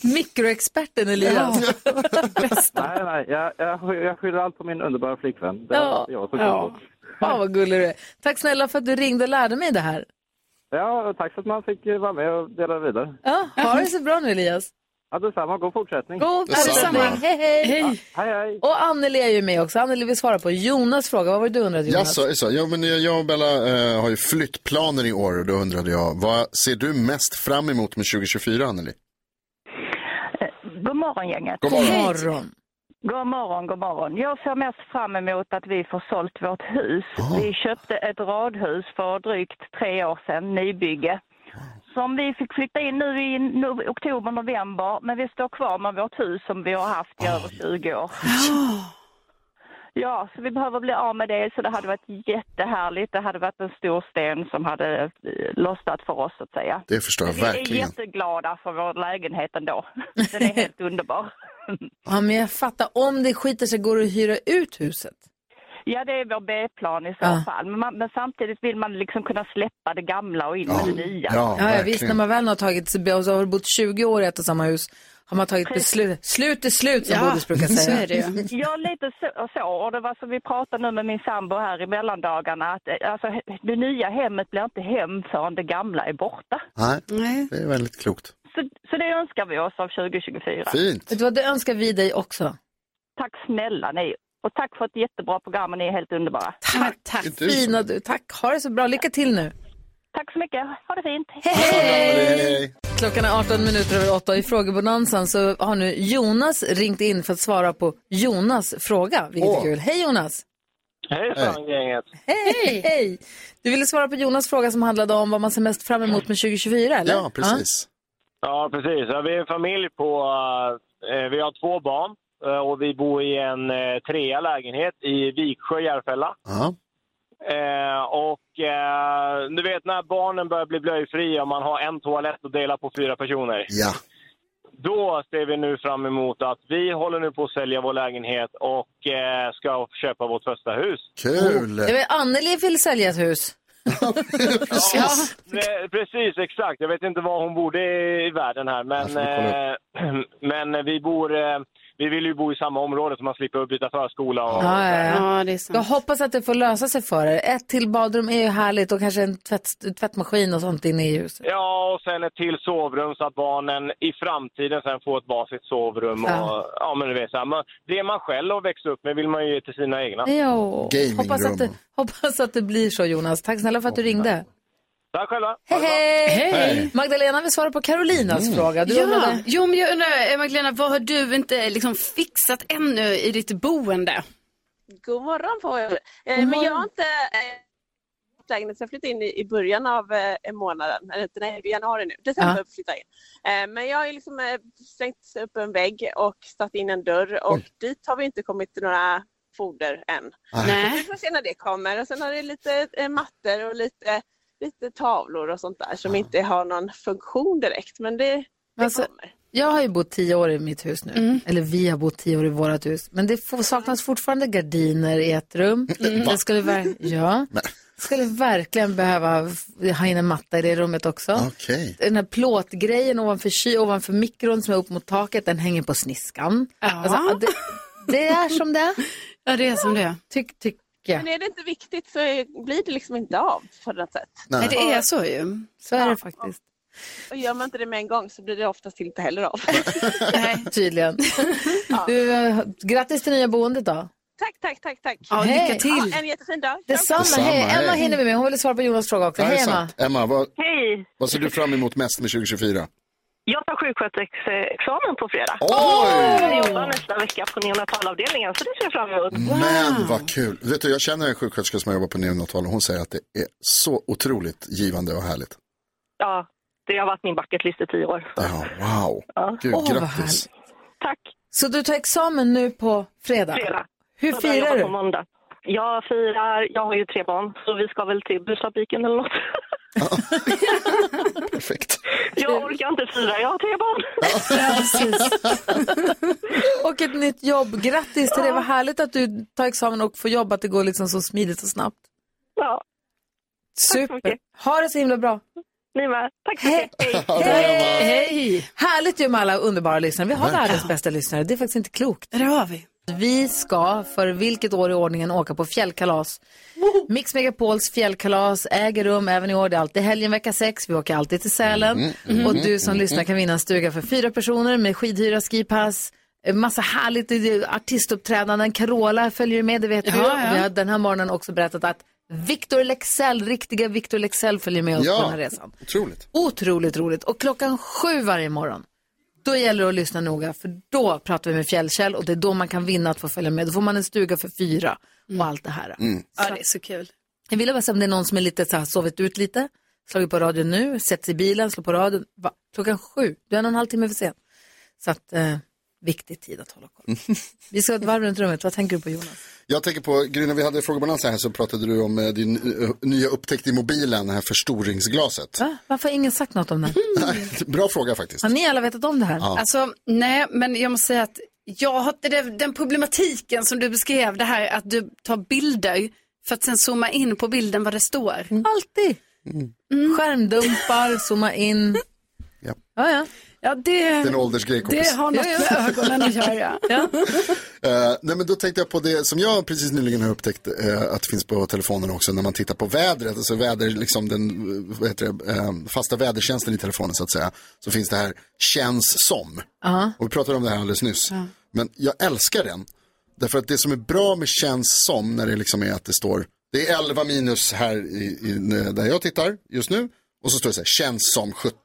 mikroexperten Elias. (laughs)
nej, nej, jag, jag, sky- jag skyller allt på min underbara flickvän. Det är
Ja.
jag som
Ja.
ja.
Fan vad gullig du är. Tack snälla för att du ringde och lärde mig det här.
ja, och tack för att man fick eh, vara med och dela vidare.
Ja, ha det så bra nu Elias.
Ja,
Alltså,
detsamma. God fortsättning.
God fortsättning. Hej, hej.
Ja, hej, hej.
Och Anneli är ju med också. Anneli vill svara på Jonas fråga. Vad var det du undrade Jonas?
Jaså, jaså. Ja, men jag jag och Bella eh, har ju flyttplaner i år och då undrade jag, vad ser du mest fram emot med 2024, Anneli?
Eh, God morgon gänget.
God morgon. God morgon.
God morgon, god morgon. Jag ser mest fram emot att vi får sålt vårt hus. Vi köpte ett radhus för drygt tre år sedan, nybygge. Som vi fick flytta in nu i no- oktober, november, men vi står kvar med vårt hus som vi har haft i över 20 år. Ja, så vi behöver bli av med det, så det hade varit jättehärligt. Det hade varit en stor sten som hade eh, lossnat för oss, så att säga.
Det förstår jag
Men vi är
verkligen.
jätteglada för vår lägenhet ändå. Den är helt underbar.
Ja, men jag fattar. Om det skiter sig, går det att hyra ut huset?
Ja, det är vår B-plan i så
Ja.
fall. Men, man, men samtidigt vill man liksom kunna släppa det gamla och in med det nya.
ja, ja visst. När man väl har tagit sig, och så har du bott 20 år i ett och samma hus, har man tagit beslut. Slut är slut, som Bodis brukar säga.
Ja, lite så, så. Och det var som vi pratade nu med min sambo här i mellandagarna, att eh, alltså, he- det nya hemmet blir inte hem förrän det gamla är borta.
Nej, det är väldigt klokt.
Så, så det önskar vi oss av 2024.
Fint.
Vet du vad, det önskar vi dig också.
Tack snälla ni. Och tack för ett jättebra program, och ni är helt underbara.
Tack, tack. Fina du. Tack. Ha det så bra. Lycka till nu.
Tack så mycket. Ha det fint.
Hej! Klockan är 18 minuter över 8 i frågebonansen så har nu Jonas ringt in för att svara på Jonas fråga, vilket är
Åh.
kul. Hej Jonas!
Hejsan gänget!
Hej! Hej! Du ville svara på Jonas fråga som handlade om vad man ser mest fram emot med 2024, eller?
Ja, precis. Ja, vi är en familj på... Eh, vi har två barn eh, och vi bor i en eh, trea lägenhet i Viksjö, Järfälla.
Ja.
Eh, och eh, du vet när barnen börjar bli blöjfria och man har en toalett att dela på fyra personer.
Ja.
Då ser vi nu fram emot att vi håller nu på att sälja vår lägenhet och eh, ska köpa vårt första hus.
Kul!
Oh, Det var Anneli vill sälja ett hus.
Precis. precis, exakt. Jag vet inte var hon bor i världen här, men, eh, (clears throat) men vi bor... Eh, vi vill ju bo i samma område så man slipper byta förskola. Och,
Ja, ja, ja. Jag hoppas att det får lösa sig för er. Ett till badrum är ju härligt och kanske en tvätt, tvättmaskin och sånt inne i huset.
Ja, och sen ett till sovrum så att barnen i framtiden sen får ett varsitt sovrum. Och,
Ja.
ja. men du vet, så här, man, det man själv har växt upp med vill man ju ge till sina egna.
Jo. Hoppas att, det, hoppas att det blir så Jonas. Tack snälla för att du ringde.
Tack själva!
Hej, hej!
Hej.
Magdalena vill svara på Carolinas fråga. Du
ja.
undrade...
Jo, men jag undrar, eh, Magdalena, vad har du inte liksom fixat ännu i ditt boende?
God morgon på er. Eh,
God
Men jag
morgon.
har inte eh, lägenhet. Jag flyttade in i i början av eh, månaden, eller inte, nej, i januari nu, december flyttade jag in. Eh, Men jag har ju liksom eh, slängt upp en vägg och satt in en dörr och dit har vi inte kommit några foder än.
Nej.
(laughs)
Vi får se när det kommer och sen har det lite eh, mattor och lite, lite tavlor och sånt där som inte har någon funktion direkt. Men det, det
Alltså,
kommer.
jag har ju bott tio år i mitt hus nu. Eller vi har bott tio år i vårt hus. Men det får, saknas fortfarande gardiner i ett rum.
Mm.
Jag skulle, ver- ja. skulle verkligen behöva f- ha in en matta i det rummet också.
Okej.
Den här plåtgrejen ovanför, ky- ovanför mikron som är upp mot taket, den hänger på sniskan. Alltså, det, det är som det är.
Ja, det är som det är.
Tyck, tycker jag.
Men är det inte viktigt så är- blir det liksom inte av på något sätt.
Nej.
Det är så ju.
Så är det (laughs) faktiskt.
Och gör man inte det med en gång så blir det oftast inte heller av.
Tydligen. Du, eh, grattis till nya boendet då.
tack, tack, tack, tack.
Ja, lycka Hej. till.
Ja, en jättefin dag.
Detsamma.
Detsamma,
hej.
hej.
Emma hinner vi med. Hon ville svara på Jonas fråga också.
Ja, det är
Hej Emma.
sant. Emma, vad,
Hej!
vad ser du fram emot mest med 2024?
Jag tar sjuksköterskeexamen på fredag.
Oj!
Jag jobbar nästa vecka på neonatalavdelningen, så det ser jag fram emot.
Men vad kul! Vet du, jag känner en sjuksköterska som har jobbat på neonatal och hon säger att det är så otroligt givande och härligt.
Ja, det har varit min bucket list i tio år.
Ja, wow! Gud,
Åh, vad
grattis!
Tack.
Så du tar examen nu på fredag?
Fredag.
Hur
Så jag
firar
jobbar
du?
På måndag. Jag firar, jag har ju tre barn, så vi ska väl till busfabriken eller något.
Perfekt.
Jag orkar inte fira, jag har tre barn.
(laughs) och ett nytt jobb. Grattis till det. Vad härligt att du tar examen och får jobb, att det går liksom så smidigt och snabbt.
Ja.
Super. Ha det så himla bra.
Ni med. Tack så mycket. Hej.
Hej! Hej! Härligt ju med alla underbara lyssnare. Vi har
Verkligen.
världens bästa lyssnare. Det är faktiskt inte klokt.
Det har vi.
Vi ska för vilket år i ordningen åka på fjällkalas. Mix Megapols fjällkalas äger rum även i år. Det är alltid helgen vecka 6. Vi åker alltid till Sälen.
Mm, mm,
och du som
mm,
lyssnar kan vinna en stuga för fyra personer med skidhyra, skipass, eh, massa härligt eh, artistuppträdanden. Carola följer med, det vet du.
Ja, ja.
Vi har den här morgonen också berättat att Victor Lexell, riktiga Victor Lexell följer med oss på den här resan.
otroligt.
Otroligt roligt. Och klockan sju varje morgon, då gäller det att lyssna noga för då pratar vi med Fjällkäll och det är då man kan vinna att få följa med. Då får man en stuga för fyra och allt det här.
Ja, det är så kul.
Jag vill bara säga om det är någon som är lite så här, sovit ut lite, slagit på radion nu, sätter sig i bilen, slår på radion. Va? Klockan sju, du är en och en halv timme för sen. Så att, eh, viktig tid att hålla koll. Vi ska ha ett varv runt rummet, vad tänker du på Jonas?
Jag tänker på, Gry, när vi hade frågebalans här så pratade du om eh, din eh, nya upptäckt i mobilen, det här förstoringsglaset.
Va? Varför har ingen sagt något om det?
(laughs) Bra fråga faktiskt.
Har ni alla vetat om det här?
Ja.
Alltså, nej, men jag måste säga att jag har inte det- den problematiken som du beskrev, det här att du tar bilder för att sen zooma in på bilden vad det står.
Mm. Alltid. Skärmdumpar, zooma in.
Ja.
Ja, ja.
ja det,
Det är en åldersgrej, kompis.
det har något
Ja,
med
ja.
ögonen att göra.
Eh, nej men då tänkte jag på det som jag precis nyligen har upptäckt eh, att det finns på telefonen också när man tittar på vädret, alltså väder, liksom den eh, vad heter det, eh, fasta vädertjänsten i telefonen så att säga, så finns det här känns som.
Ja.
Och vi pratade om det här alldeles nyss. Men jag älskar den. Därför att det som är bra med känns som när det liksom är att det står, det är 11 minus här i, i, där jag tittar just nu. Och så står det så här, känns som 17.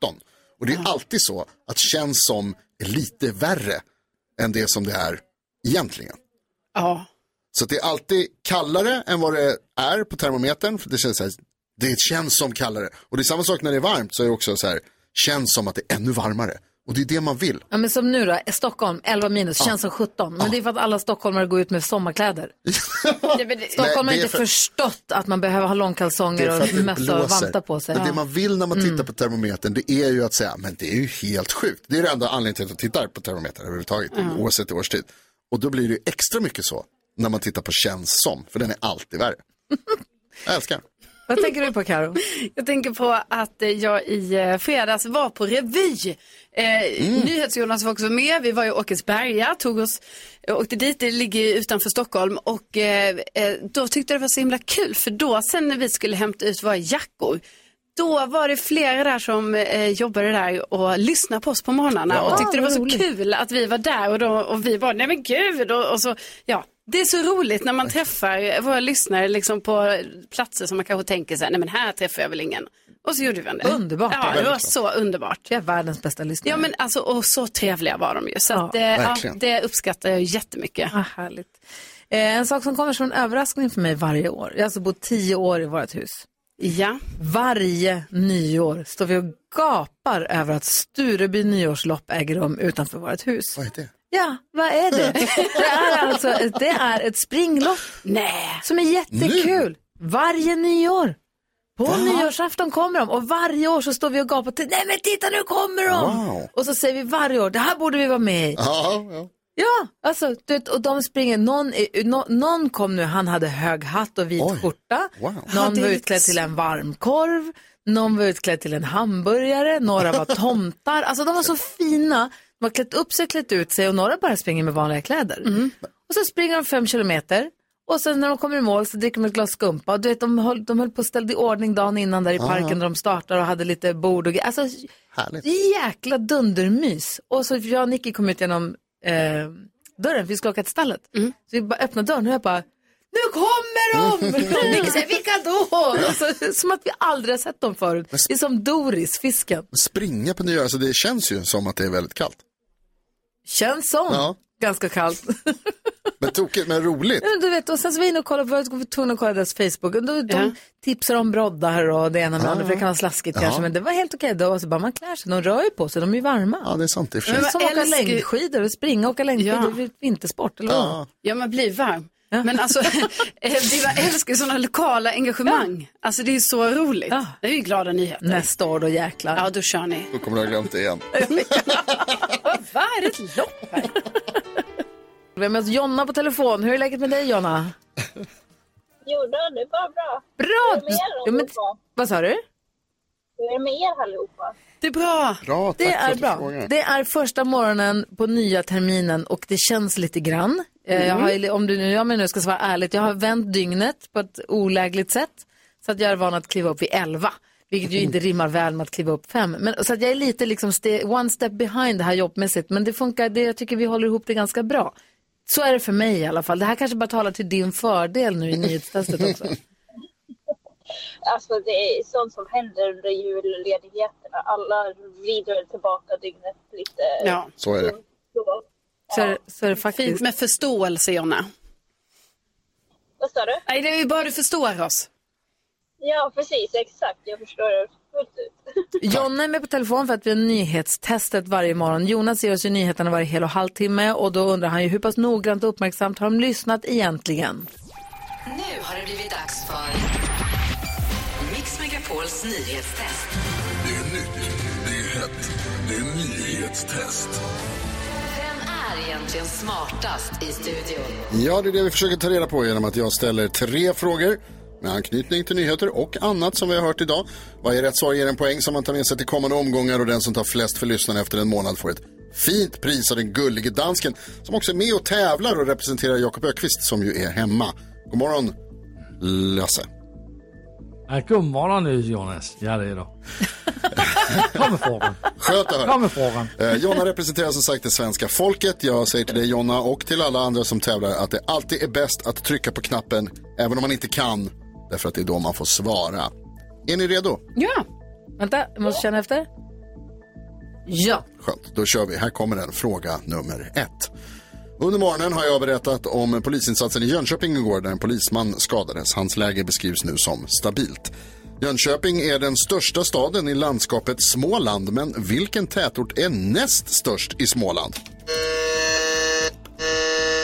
Och det är alltid så att känns som är lite värre än det som det är egentligen.
Ja.
Så att det är alltid kallare än vad det är på termometern. För det, känns så här, det känns som kallare. Och det är samma sak när det är varmt så är det också så här, känns som att det är ännu varmare. Och det är det man vill.
Ja, men som nu då, Stockholm 11 minus, känns som 17. Men det är för att alla stockholmare går ut
(laughs)
med sommarkläder. Stockholm har
Nej, det är
inte
för-
förstått att man behöver ha
Det är
långkalsonger
för att
och
det
mössa och
blåser.
vantar på sig. Mm.
Men det man vill när man tittar på termometern det är ju att säga, men det är ju helt sjukt. Det är det enda anledningen till att jag tittar på termometern överhuvudtaget,
Ja.
oavsett årstid. Och då blir det ju extra mycket så när man tittar på känns som, för den är alltid värre. jag älskar den.
Vad tänker du på Karo?
(laughs) Jag tänker på att eh, jag i eh, fredags var på revy. Eh,
Mm.
NyhetsJonas var också med. Vi var i Åkersberga, tog oss, eh, åkte dit, det ligger ju utanför Stockholm. Och eh, eh, då tyckte jag det var så himla kul, för då sen när vi skulle hämta ut våra jackor, då var det flera där som eh, jobbade där och lyssnade på oss på morgnarna
Ja.
och tyckte det var
Vad
så
roligt.
kul att vi var där och, då, och vi bara, nej men gud, och, och så, ja. Det är så roligt när man träffar våra lyssnare liksom på platser som man kanske tänker så här, nej men här träffar jag väl ingen. Och så gjorde vi det.
Underbart.
Ja, det var så underbart.
Vi är världens bästa lyssnare.
Ja men alltså, och så trevliga var de ju. Så
Ja,
att, eh, ja,
verkligen.
det uppskattar jag jättemycket.
Ah, härligt. Eh, en sak som kommer som en överraskning för mig varje år. Jag har alltså bott tio år i vårt hus.
Ja.
Varje nyår står vi och gapar över att Stureby nyårslopp äger rum utanför vårt hus.
Vad är det?
Ja, vad är det? Det är alltså ett, det är ett springlopp
Nej.
som är jättekul. Varje nyår. På nyårsafton kommer de och varje år så står vi och gapar till, nej men titta nu kommer de!
Wow.
Och så säger vi varje år, det här borde vi vara med i.
Ja, ja.
Ja, alltså, du vet, och de springer, någon, är, nå- någon kom nu, han hade hög hatt och vit skjorta.
Ja,
Någon
det är
var
lite
utklädd till en varmkorv, någon var utklädd till en hamburgare, några var tomtar. Alltså de var så fina. De har klätt upp sig, klätt ut sig och några bara springer med vanliga kläder. Och så springer de fem kilometer och sen när de kommer i mål så dricker de ett glas skumpa. Och du vet, de höll, de höll på att ställa i ordning dagen innan där i
Ja,
parken
ja.
där de startar och hade lite bord och gre- alltså,
Härligt.
Jäkla dundermys. Och så jag och Nicky kom ut genom eh, dörren, för vi skulle åka till stallet.
Mm.
Så vi bara öppnade dörren och jag bara, nu kommer de!
Mm.
Och Nicky säger, vilka då? Alltså, som att vi aldrig har sett dem förut. Det är som Doris, fisken.
Springa på nyår, alltså det känns ju som att det är väldigt kallt.
Känns som.
Ja.
Ganska kallt. (laughs)
Men tokigt, men roligt.
Ja, men du vet, och sen så var jag inne och kollade, vi var tvungna att kolla deras Facebook. Och då, De tipsar om broddar och det ena med det
Ja,
andra, för det kan vara slaskigt
ja.
kanske. Men det var helt okej då. Alltså, bara man klär sig, de rör ju på sig, de är ju varma.
Ja, det är sant. Det är
Det är som att åka längdskidor och springa och åka längdskidor,
Ja.
det är vintersport. Eller vad?
Ja, man blir varm. Men (laughs) alltså, eh, vi var- älskar sådana lokala engagemang. Alltså det är så roligt. Det är ju glada nyheter.
Nästa år då jäklar.
Ja, då kör ni.
Då kommer du ha glömt det igen.
(laughs) Vad är det ett lopp?
Vi har med oss Jonna på telefon. Hur är läget med dig Jonna?
(laughs) Jo, då, det var bra.
Bra!
Hur är med er
Jo, men-
allihopa?
Vad sa du?
Hur är det med er allihopa?
Det är bra.
Bra, tack
Det
för
är
att du
bra.
frågar.
Det är första morgonen på nya terminen och det känns lite grann. Eh, Jag
Mm.
har, om du nu, ja, men nu ska jag svara ärligt, jag har vänt dygnet på ett olägligt sätt. Så att jag är van att kliva upp vid 11. Vilket ju inte rimmar väl med att kliva upp fem. Men, så att jag är lite liksom ste, one step behind det här jobbmässigt. Men det funkar, det, jag tycker vi håller ihop det ganska bra. Så är det för mig i alla fall. Det här kanske bara talar till din fördel nu i nyhetstestet
(laughs)
också.
Alltså det är sånt som händer under julledigheterna. Alla vrider tillbaka dygnet lite.
Ja.
Så är det.
Så.
Så, är- så är det faktiskt.
Fint med förståelse, Jonna.
Vad sa du?
Nej, det är ju bara du förstår oss.
Ja, precis. Exakt. Jag förstår det fullt ut. (laughs)
Jonna är med på telefon för att vi har nyhetstestet varje morgon. Jonas ger oss ju nyheterna varje hel och halvtimme och då undrar han ju hur pass noggrant och uppmärksamt har de lyssnat egentligen?
Nu har det blivit dags för Mix Megapols nyhetstest.
Det är nytt, det är hett, det är nyhetstest.
Vem är egentligen smartast i studion?
Ja, det är det vi försöker ta reda på genom att jag ställer tre frågor med anknytning till nyheter och annat som vi har hört idag. Varje rätt svar ger en poäng som man tar med sig till kommande omgångar och den som tar flest för lyssnarna efter en månad får ett fint pris av den gullige dansken som också är med och tävlar och representerar Jakob Ökvist som ju är hemma. God morgon, Lasse.
Ja, god morgon Jonas. Jag är redo. Kom med frågan.
Sköt
Kom med frågan.
Eh, Jonna representerar som sagt det svenska folket. Jag säger till dig Jonna och till alla andra som tävlar att det alltid är bäst att trycka på knappen även om man inte kan. Därför att det är då man får svara. Är ni redo?
Ja. Vänta, jag måste känna efter. Ja.
Skönt, då kör vi. Här kommer den. Fråga nummer ett. Under morgonen har jag berättat om polisinsatsen i Jönköping igår där en polisman skadades. Hans läge beskrivs nu som stabilt. Jönköping är den största staden i landskapet Småland, men vilken tätort är näst störst i Småland?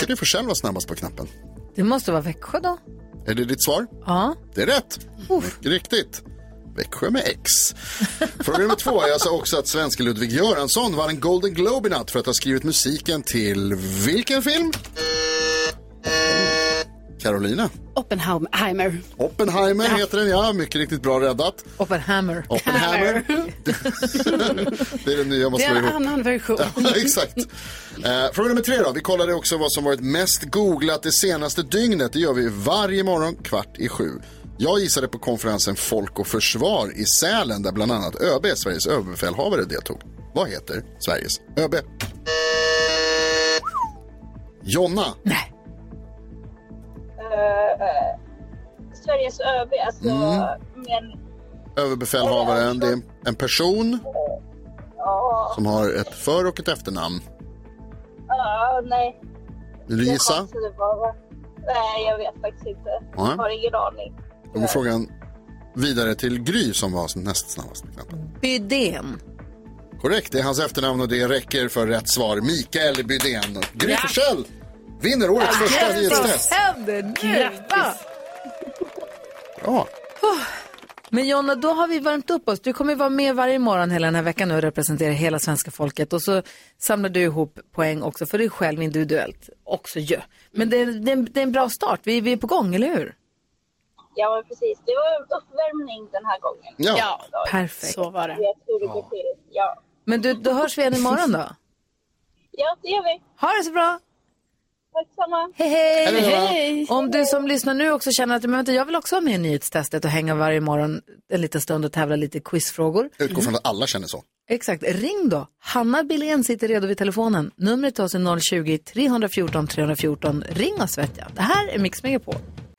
Kan du få själv vara snabbast på knappen?
Det måste vara Växjö då?
Är det ditt svar?
Ja.
Det är rätt. Mycket Riktigt. Växjö med X. Fråga nummer två. Jag sa också att svenske Ludvig Göransson vann en Golden Globe i natt för att ha skrivit musiken till vilken film? Carolina.
Oppenheimer.
Oppenheimer heter den, ja. Mycket riktigt bra räddat.
Oppenheimer.
Oppenheimer. det är den nya man
Det är
slår
en
ihop.
annan version.
(laughs) Ja, exakt. Eh, fråga nummer tre då. Vi kollade också vad som varit mest googlat det senaste dygnet. Det gör vi varje morgon kvart i sju. Jag gissade på konferensen Folk och Försvar i Sälen där bland annat ÖB, Sveriges överbefälhavare, deltog. Vad heter Sveriges ÖB? Jonna.
Eh, eh, Sveriges ÖB, alltså.
Mm.
Men,
Överbefälhavaren, det är en person
ja.
som har ett för och ett efternamn.
ja, nej.
Vill du
Det är
gissa?
konstigt att vara. Nej, jag vet faktiskt inte. Jag
Nej.
har ingen aning.
Då går frågan vidare till Gry som var näst snabbast med knappen.
Bydén.
Korrekt, det är hans efternamn och det räcker för rätt svar. Mikael Bydén. Gry Forssell vinner årets första nyhetstest.
händer nu? Va?
Bra.
Men Jonna, då har vi värmt upp oss. Du kommer ju vara med varje morgon hela den här veckan nu och representera hela svenska folket. Och så samlar du ihop poäng också för dig själv individuellt också ju. Men det, är- det, är en- det är en bra start. Vi, vi är på gång, eller hur?
Ja, men precis. Det var en uppvärmning den här gången.
Ja. Ja. Perfekt.
Så var det. Jag tror det går till. Ja.
Men du, då hörs vi igen imorgon då.
ja, det gör vi.
Ha det så bra!
Tack samma.
Hej, hej!
Hej då.
Om du som lyssnar nu också känner att men vänta, jag vill också vara med i nyhetstestet och hänga varje morgon en liten stund och tävla lite i quizfrågor.
Utgår från att alla känner så.
Exakt, ring då. Hanna Billén sitter redo vid telefonen. Numret till oss är 020-314 314. Ring oss vet jag. Det här är Mix Megapol.